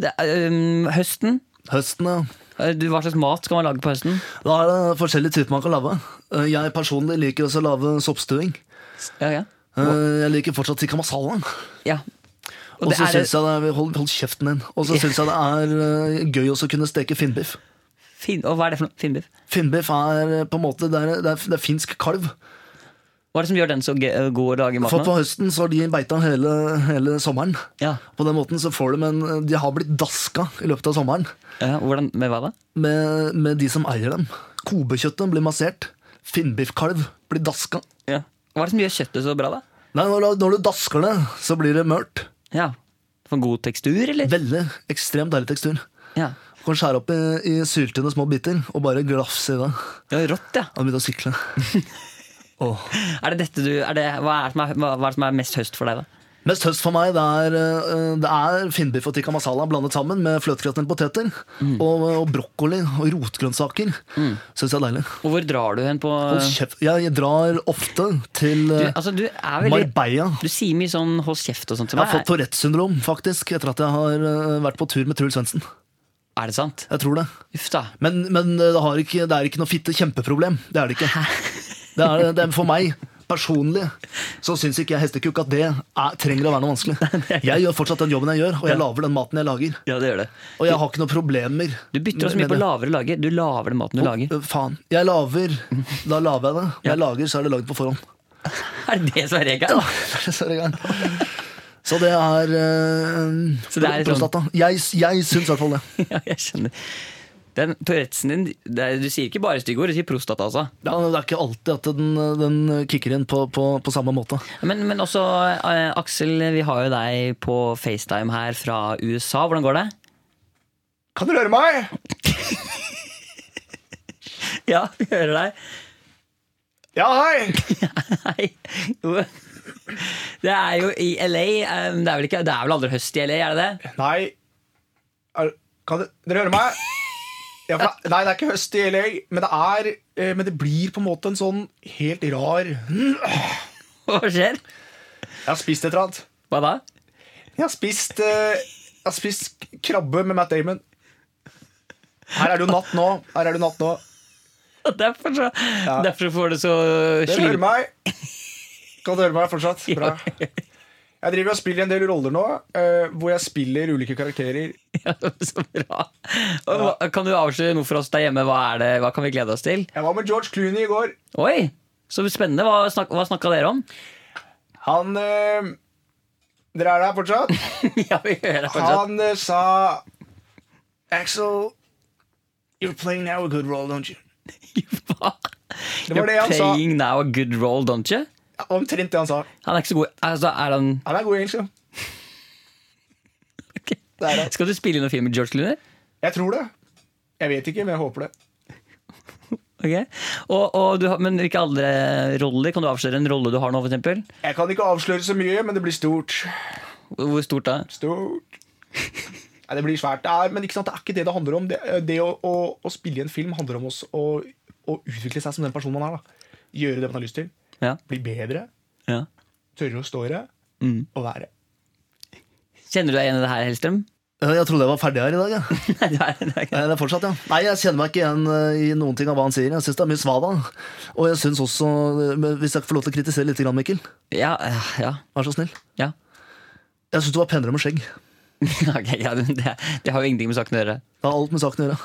Speaker 3: Det, er, øhm, høsten?
Speaker 5: Høsten, ja.
Speaker 3: Øh, Du, hva slags mat skal man lage på høsten?
Speaker 5: Da er det forskjellige typer man kan lage. Eh, Jeg personlig liker også å lage soppstuing.
Speaker 3: Ja, ja.
Speaker 5: Eh, Jeg liker fortsatt tikka masala.
Speaker 3: ja.
Speaker 5: Og
Speaker 3: det
Speaker 5: så
Speaker 3: er-
Speaker 5: syns jeg det er Hold, hold kjeften din. Og så syns jeg det er eh, gøy også å kunne steke finnbiff.
Speaker 3: Fin, og hva er det for noe? Finnbiff?
Speaker 5: Finnbiff er eh, på en måte Det er, det er, det er finsk kalv.
Speaker 3: Hva er det som gjør den så gø- øh, god å lage mat
Speaker 5: For på
Speaker 3: med?
Speaker 5: høsten så har de beita hele, hele sommeren.
Speaker 3: Ja.
Speaker 5: På den måten så får de en De har blitt daska i løpet av sommeren
Speaker 3: Ja, hvordan, med hva da?
Speaker 5: med, med de som eier dem. Kobekjøttet blir massert. Finnbiffkalv blir daska.
Speaker 3: Ja. Hva er det som gjør kjøttet så bra, da?
Speaker 5: Nei, når, når du dasker det, så blir det mørkt.
Speaker 3: Ja. For en god tekstur, eller?
Speaker 5: Veldig ekstremt deilig tekstur.
Speaker 3: Ja.
Speaker 5: Du kan skjære opp i, i syltynne små biter og bare glafse i det.
Speaker 3: ja rått, ja.
Speaker 5: Og begynne å sykle. Åh.
Speaker 3: Er det dette du, er det, hva, er det som er, hva, hva er det som er mest høst for deg, da?
Speaker 5: Mest høst for meg det er, eh, det er finnbiff og tikka masala blandet sammen med fløtekratne poteter
Speaker 3: Mm.
Speaker 5: og, og brokkoli og rotgrønnsaker. Synes jeg er deilig.
Speaker 3: Og hvor drar du hen på
Speaker 5: Hold kjeft. Jeg drar ofte til
Speaker 3: du,
Speaker 5: eh,
Speaker 3: altså, du er veldig
Speaker 5: Marbella.
Speaker 3: Du sier mye sånn 'hold kjeft' og sånt til
Speaker 5: Jeg har
Speaker 3: meg.
Speaker 5: fått Tourettes syndrom faktisk etter at jeg har eh, vært på tur med Truls Svendsen.
Speaker 3: Er det sant?
Speaker 5: Jeg tror det.
Speaker 3: Uff da.
Speaker 5: Men, men eh, det, har ikke, det er ikke noe fitte kjempeproblem. Det er det ikke. Det er, det er for meg personlig så syns ikke jeg hestekukk at det er, trenger å være noe vanskelig. Jeg gjør fortsatt den jobben jeg gjør, og jeg lager den maten jeg lager.
Speaker 3: Ja, det gjør det.
Speaker 5: Og jeg har ikke noen problemer.
Speaker 3: Du bytter også mye på
Speaker 5: med det.
Speaker 3: lavere lager. Du laver den maten du lager.
Speaker 5: Øh, Faen. Jeg laver. Da laver jeg det. Når jeg lager, så er det lagd på forhånd.
Speaker 3: Er det det som er regelen?
Speaker 5: så er det i gang. Så det er, øh,
Speaker 3: Så det er sånn-
Speaker 5: prostata. Jeg, jeg syns i hvert fall det.
Speaker 3: Ja, jeg skjønner. Den Tourettesen din det er, Du sier ikke bare stygge ord, du sier prostata, altså.
Speaker 5: Ja, det er ikke alltid at den, den kicker inn på, på, på samme måte.
Speaker 3: Men, men også, eh, Aksel, vi har jo deg på FaceTime her fra USA. Hvordan går det?
Speaker 2: Kan dere høre meg?
Speaker 3: Ja, vi hører deg.
Speaker 2: Ja, hei!
Speaker 3: Hei. Jo. Det er jo i LA. eh, Det er vel, ikke, det er vel aldri høst i LA, er det det?
Speaker 2: Nei er, Kan du, dere høre meg? Ja, for, det- nei, det er ikke høst i LA, men det er eh, Men det blir på en måte en sånn helt rar Jeg
Speaker 3: Hva skjer?
Speaker 2: har spist et eller annet.
Speaker 3: Hva da?
Speaker 2: Jeg har spist, eh, jeg har spist krabbe med Matt Damon. Her er det jo natt nå. Her er det jo natt nå.
Speaker 3: Og Derfor, så,
Speaker 2: Ja.
Speaker 3: derfor får du så
Speaker 2: Dere hører
Speaker 3: slim...
Speaker 2: meg? Kan dere høre meg fortsatt? Bra. Jeg driver og spiller en del roller nå, eh, hvor jeg spiller ulike karakterer.
Speaker 3: Ja, så bra. Og, hva- Kan du avsløre noe for oss der hjemme? Hva, er det, hva kan vi glede oss til?
Speaker 2: Jeg var med George Clooney i går.
Speaker 3: Oi, så spennende. Hva, snak, hva snakka dere om?
Speaker 2: Han eh, Dere er der fortsatt?
Speaker 3: ja, vi hører fortsatt.
Speaker 2: Han eh, sa
Speaker 4: Axel, you're playing now a good role, don't you?
Speaker 3: Hva?
Speaker 2: Det var det
Speaker 3: You're
Speaker 2: han sa.
Speaker 3: playing now a good role, don't you?
Speaker 2: Omtrent det han sa.
Speaker 3: Han er ikke så god altså, er han,
Speaker 2: Han er god i engelsk. ja.
Speaker 3: ok.
Speaker 2: Det er han.
Speaker 3: Skal du spille inn en film med George Clooney?
Speaker 2: Jeg tror det. Jeg vet ikke, men jeg håper det.
Speaker 3: Ok. Og, og du, har- men hvilke andre roller? Kan du avsløre en rolle du har nå? For eksempel?
Speaker 2: Jeg kan ikke avsløre så mye, men det blir stort.
Speaker 3: Hvor stort da?
Speaker 2: Stort. Nei, det blir svært. Det er, men ikke sant, det er ikke det det handler om. Det, eh, det å, å, å spille i en film handler om oss å, å utvikle seg som den personen man er. Da. Gjøre det man har lyst til.
Speaker 3: Ja,
Speaker 2: Bli bedre.
Speaker 3: ja.
Speaker 2: Tørre å stå i det. Og være.
Speaker 3: Kjenner du deg igjen i det her, Hellstrøm?
Speaker 5: Eh, Jeg trodde jeg var ferdig her i dag. Jeg.
Speaker 3: Nei, det er, det er ikke.
Speaker 5: Nei, det er fortsatt, ja. Nei, jeg kjenner meg ikke igjen eh, i noen ting av hva han sier. Jeg syns det er mye svada. Og jeg syns også, eh, men hvis jeg får lov til å kritisere litt, grann, Mikkel,
Speaker 3: Ja, eh, ja,
Speaker 5: vær så snill.
Speaker 3: ja.
Speaker 5: Jeg syns du var penere med skjegg.
Speaker 3: Ok, ja det, det har jo ingenting med saken å gjøre.
Speaker 5: Det har alt med saken å gjøre.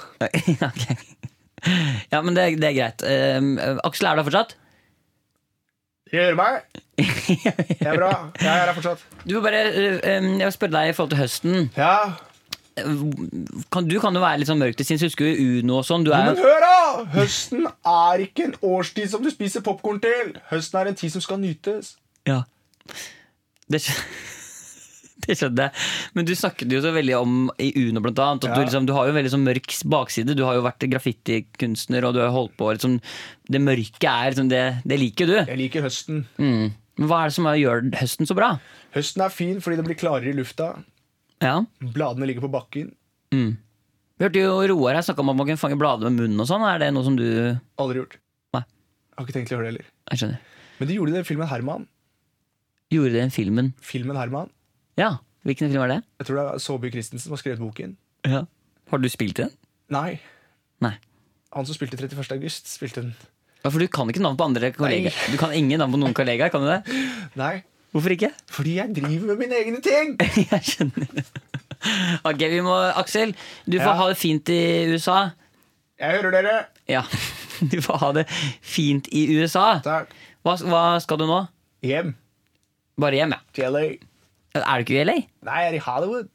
Speaker 3: Ok. Ja, men det, det er greit. Um, Aksel, er du der fortsatt?
Speaker 2: Dere hører meg? Jeg er bra. Jeg er her fortsatt.
Speaker 3: eh, ehm, Du må bare, um, jeg vil spørre deg i forhold til høsten.
Speaker 2: Ja.
Speaker 3: kan, Du kan jo være litt sånn mørk til sinns. Husker jo Uno og sånn. Du er
Speaker 2: Men
Speaker 3: jo
Speaker 2: hør, da! Høsten er ikke en årstid som du spiser popkorn til. Høsten er en tid som skal nytes.
Speaker 3: Ja. Det, skj- det skjønte jeg. Men du snakket jo så veldig om i Uno blant annet, at du,
Speaker 2: Ja.
Speaker 3: liksom, du har jo en veldig sånn mørk bakside. Du har jo vært graffitikunstner og du har jo holdt på. Liksom, det mørke er liksom, det, det liker du.
Speaker 2: Jeg liker høsten.
Speaker 3: Mm. Men hva er det som gjør høsten så bra?
Speaker 2: Høsten er fin fordi det blir klarere i lufta.
Speaker 3: Ja.
Speaker 2: Bladene ligger på bakken.
Speaker 3: Vi hørte jo Roar her snakke om at man kan fange blader med munnen og sånn. Er det noe som du Jeg
Speaker 2: Aldri gjort.
Speaker 3: Nei.
Speaker 2: Har ikke tenkt til å gjøre det heller.
Speaker 3: skjønner.
Speaker 2: Men de gjorde det i filmen Herman.
Speaker 3: Gjorde det i den filmen.
Speaker 2: Filmen Herman.
Speaker 3: Ja. Hvilken film er det?
Speaker 2: Jeg tror det er Saabye Christensen som har skrevet boken.
Speaker 3: Ja. Har du spilt i den?
Speaker 2: Nei.
Speaker 3: Nei.
Speaker 2: Han som spilte 31. august, spilte den.
Speaker 3: Ja, For du kan ikke navn på andre kollegaer. Du kan ingen navn på noen kollegaer, kan du det?
Speaker 2: Nei.
Speaker 3: Hvorfor ikke?
Speaker 2: Fordi jeg driver med mine egne ting!
Speaker 3: Jeg skjønner. Ok, vi må Aksel, du får
Speaker 2: Ja.
Speaker 3: ha det fint i USA.
Speaker 2: Jeg hører dere.
Speaker 3: Ja, du får ha det fint i USA.
Speaker 2: Takk.
Speaker 3: Hva, hva skal du nå?
Speaker 2: Hjem
Speaker 3: Bare hjem, ja.
Speaker 2: til LA.
Speaker 3: Er du ikke i LA?
Speaker 2: Nei, jeg er i Hollywood.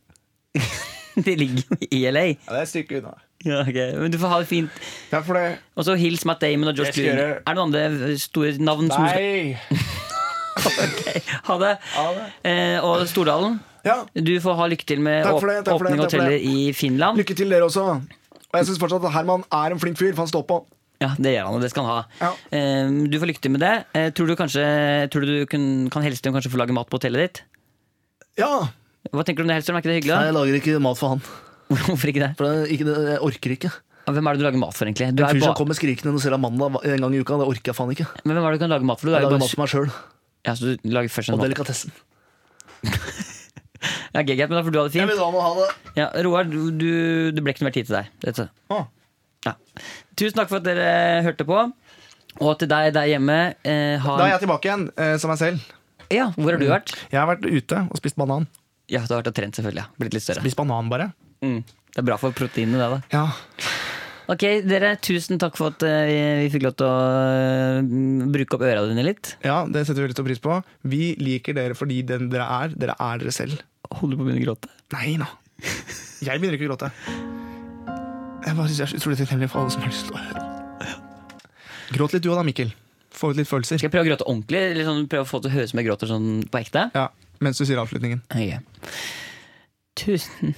Speaker 3: Det ligger jo i LA.
Speaker 2: Ja, det er et stykke unna.
Speaker 3: Ja, ok. Men du får ha det fint.
Speaker 2: Takk for det.
Speaker 3: Og så hils Matt Damon og Josh
Speaker 2: Jeg skal
Speaker 3: Clooney.
Speaker 2: gjøre-
Speaker 3: Er det noen andre store navn som du
Speaker 2: Nei.
Speaker 3: skal Ha det.
Speaker 2: Ha det.
Speaker 3: Eh, og Stordalen,
Speaker 2: Ja,
Speaker 3: du får ha lykke til med
Speaker 2: Takk
Speaker 3: åp
Speaker 2: for det, takk for det,
Speaker 3: åpning av
Speaker 2: takk for
Speaker 3: hoteller
Speaker 2: det.
Speaker 3: i Finland.
Speaker 2: lykke til dere også. Og jeg syns fortsatt at Herman er en flink fyr, for han står på.
Speaker 3: Ja, det gjør han, og det skal han
Speaker 2: Ja.
Speaker 3: ha. Eh, du får lykke til med det. Eh, tror du kanskje tror du du kan, kan Hellstrøm kanskje få lage mat på hotellet ditt?
Speaker 2: Ja.
Speaker 3: Hva tenker du om det, Hellstrøm? Er ikke det hyggelig?
Speaker 5: Nei,
Speaker 3: da?
Speaker 5: jeg lager ikke mat for han.
Speaker 3: Hvorfor ikke det?
Speaker 5: For det, er ikke, det- jeg orker ikke.
Speaker 3: Hvem er det du lager mat for, egentlig? Du er
Speaker 5: Fyr som
Speaker 3: ba...
Speaker 5: kommer skrikende når selv av mandag en gang i uka, det orker jeg faen ikke.
Speaker 3: Men hvem er det du kan lage mat for? Du
Speaker 5: Jeg
Speaker 3: er jo
Speaker 5: lager
Speaker 3: bare...
Speaker 5: mat for meg sjøl,
Speaker 3: Ja, så du lager først en
Speaker 5: og
Speaker 3: mat.
Speaker 5: delikatessen.
Speaker 3: Ja, ok, greit, men da får du ha det fint.
Speaker 5: da må ha det.
Speaker 3: Ja, Roar, du, du, det ble ikke noe mer tid til deg. Dette.
Speaker 2: Å.
Speaker 3: Ja. Tusen takk for at dere hørte på. Og til deg der hjemme eh, ha...
Speaker 2: Da er jeg tilbake igjen eh, som meg selv.
Speaker 3: Ja, Hvor har du
Speaker 5: Mm.
Speaker 3: vært?
Speaker 2: Jeg har vært ute og spist banan.
Speaker 3: Ja, Du har vært og trent, selvfølgelig. ja. Blitt litt større.
Speaker 2: Spist banan, bare.
Speaker 3: Mm. Det er bra for proteinene, det. da
Speaker 2: Ja.
Speaker 3: Ok, dere, tusen takk for at eh, vi fikk lov til å eh, bruke opp øra dine litt.
Speaker 2: ja, det setter vi veldig stor pris på. Vi liker dere fordi den dere er. Dere er dere selv.
Speaker 3: Holder du på å begynne å gråte?
Speaker 2: Nei nå. Jeg begynner ikke å gråte. Jeg bare synes jeg er så utrolig takknemlig for alle som har lyst til å høre. Gråt litt du òg da, Mikkel. Få ut litt følelser.
Speaker 3: Skal jeg prøve å gråte ordentlig? Eller sånn, prøve å få det til å høres som jeg gråter sånn på ekte?
Speaker 2: Ja, Mens du sier avslutningen.
Speaker 3: Ok. Tusen,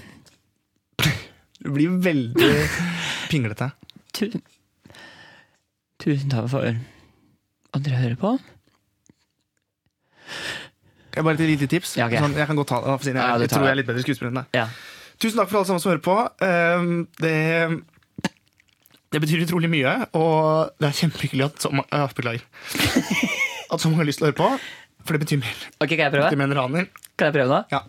Speaker 2: Du blir veldig pinglete.
Speaker 3: tusen Tusen takk for at dere hører på.
Speaker 2: Jeg bare et lite tips.
Speaker 3: Ja, ok.
Speaker 2: sånn, jeg kan godt ta det, da, siden jeg,
Speaker 3: Ja, du
Speaker 2: jeg
Speaker 3: tar
Speaker 2: tror jeg
Speaker 3: det.
Speaker 2: er litt bedre skuespiller enn deg.
Speaker 3: Ja.
Speaker 2: Tusen takk for alle sammen som hører på. Ehm, det, det betyr utrolig mye, og det er kjempehyggelig at så mange ja, Beklager. At så mange har lyst til å høre på, for det betyr mer.
Speaker 3: Ok, Kan jeg
Speaker 2: Det
Speaker 3: prøve?
Speaker 2: betyr mer enn raner.
Speaker 3: Kan jeg prøve nå?
Speaker 2: Ja.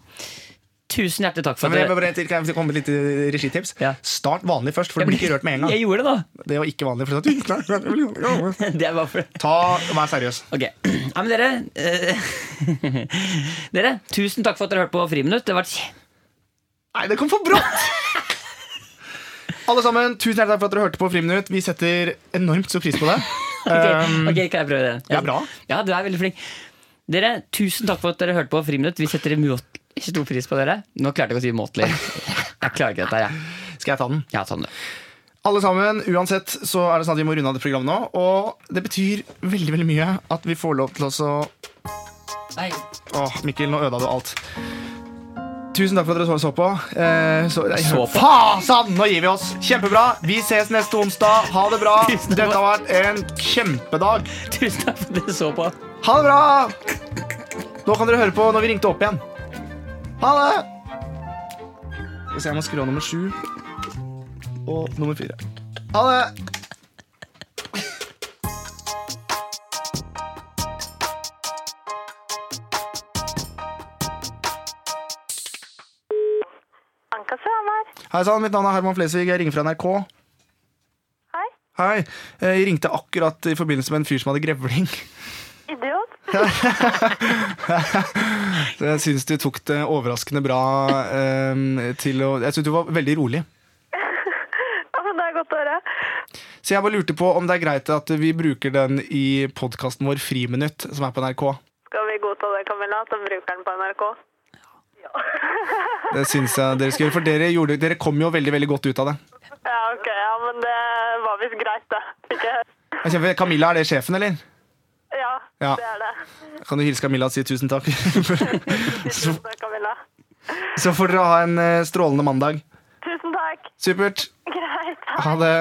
Speaker 3: Tusen hjertelig takk for
Speaker 2: Men
Speaker 3: at
Speaker 2: jeg,
Speaker 3: dere
Speaker 2: bare, en til, kan jeg komme med litt eh, regitips?
Speaker 3: Ja.
Speaker 2: Start vanlig først, for du blir ikke rørt med en
Speaker 3: Jeg
Speaker 2: gang.
Speaker 3: gjorde det, da!
Speaker 2: Det var ikke vanlig. For det er sånn,
Speaker 3: Det er bare for
Speaker 2: ta, vær seriøs.
Speaker 3: Ok, ja, men dere eh, Dere, tusen takk for at dere hørte på Friminutt. Det har vært kje-
Speaker 2: Nei, det kom for brått! Alle sammen, tusen hjertelig takk for at dere hørte på Friminutt. Vi setter enormt stor pris på det.
Speaker 3: Ok, ok, kan jeg prøve det?
Speaker 2: det er bra.
Speaker 3: Ja, du er veldig flink. Dere, tusen takk for at dere hørte på Friminutt. Vi setter umåtelig stor pris på dere. Nå klarte jeg ikke å si umåtelig. Jeg klarer ikke dette her, jeg.
Speaker 2: Skal jeg ta den?
Speaker 3: Ja, sånn det.
Speaker 2: Alle sammen, uansett så er det sånn at vi må runde av det programmet nå. Og det betyr veldig veldig mye at vi får lov til oss å
Speaker 3: Nei,
Speaker 2: Åh, Mikkel, nå ødela du alt. Tusen takk for at dere så, så på. Eh, så, nei,
Speaker 3: Så på.
Speaker 2: Fasan! Nå gir vi oss. Kjempebra. Vi ses neste onsdag. Ha det bra.
Speaker 3: Tusen takk.
Speaker 2: Dette har vært en kjempedag.
Speaker 3: tusen takk for at dere så på.
Speaker 2: Ha det bra! Nå kan dere høre på når vi ringte opp igjen. Ha det! Skal vi se, jeg må skru av nummer sju og nummer fire. Ha det!
Speaker 1: Anka Svanar.
Speaker 2: Hei sann, mitt navn er Herman Flesvig. Jeg ringer fra NRK.
Speaker 1: Hei.
Speaker 2: Hei. Jeg ringte akkurat i forbindelse med en fyr som hadde grevling.
Speaker 1: Idiot.
Speaker 2: Så Jeg syns du tok det overraskende bra eh, til å Jeg syns du var veldig rolig.
Speaker 1: Ja, men det er godt å høre.
Speaker 2: Så jeg bare lurte på om det er greit at vi bruker den i podkasten vår Friminutt, som er på NRK.
Speaker 1: Skal vi godta det, Camilla, at de bruker den på NRK?
Speaker 2: Det syns jeg dere skal gjøre, for dere, gjorde, dere kom jo veldig veldig godt ut av det.
Speaker 1: Ja, ok. Ja, men det var visst greit, da. Ikke?
Speaker 2: Jeg kjenner- Camilla, er det sjefen, eller?
Speaker 1: Ja,
Speaker 2: Ja.
Speaker 1: det er det.
Speaker 2: Kan du hilse Camilla og si tusen takk?
Speaker 1: Tusen takk, Camilla.
Speaker 2: Så får dere ha en eh, strålende mandag.
Speaker 1: Tusen takk.
Speaker 2: Supert.
Speaker 1: Greit.
Speaker 2: Ha det.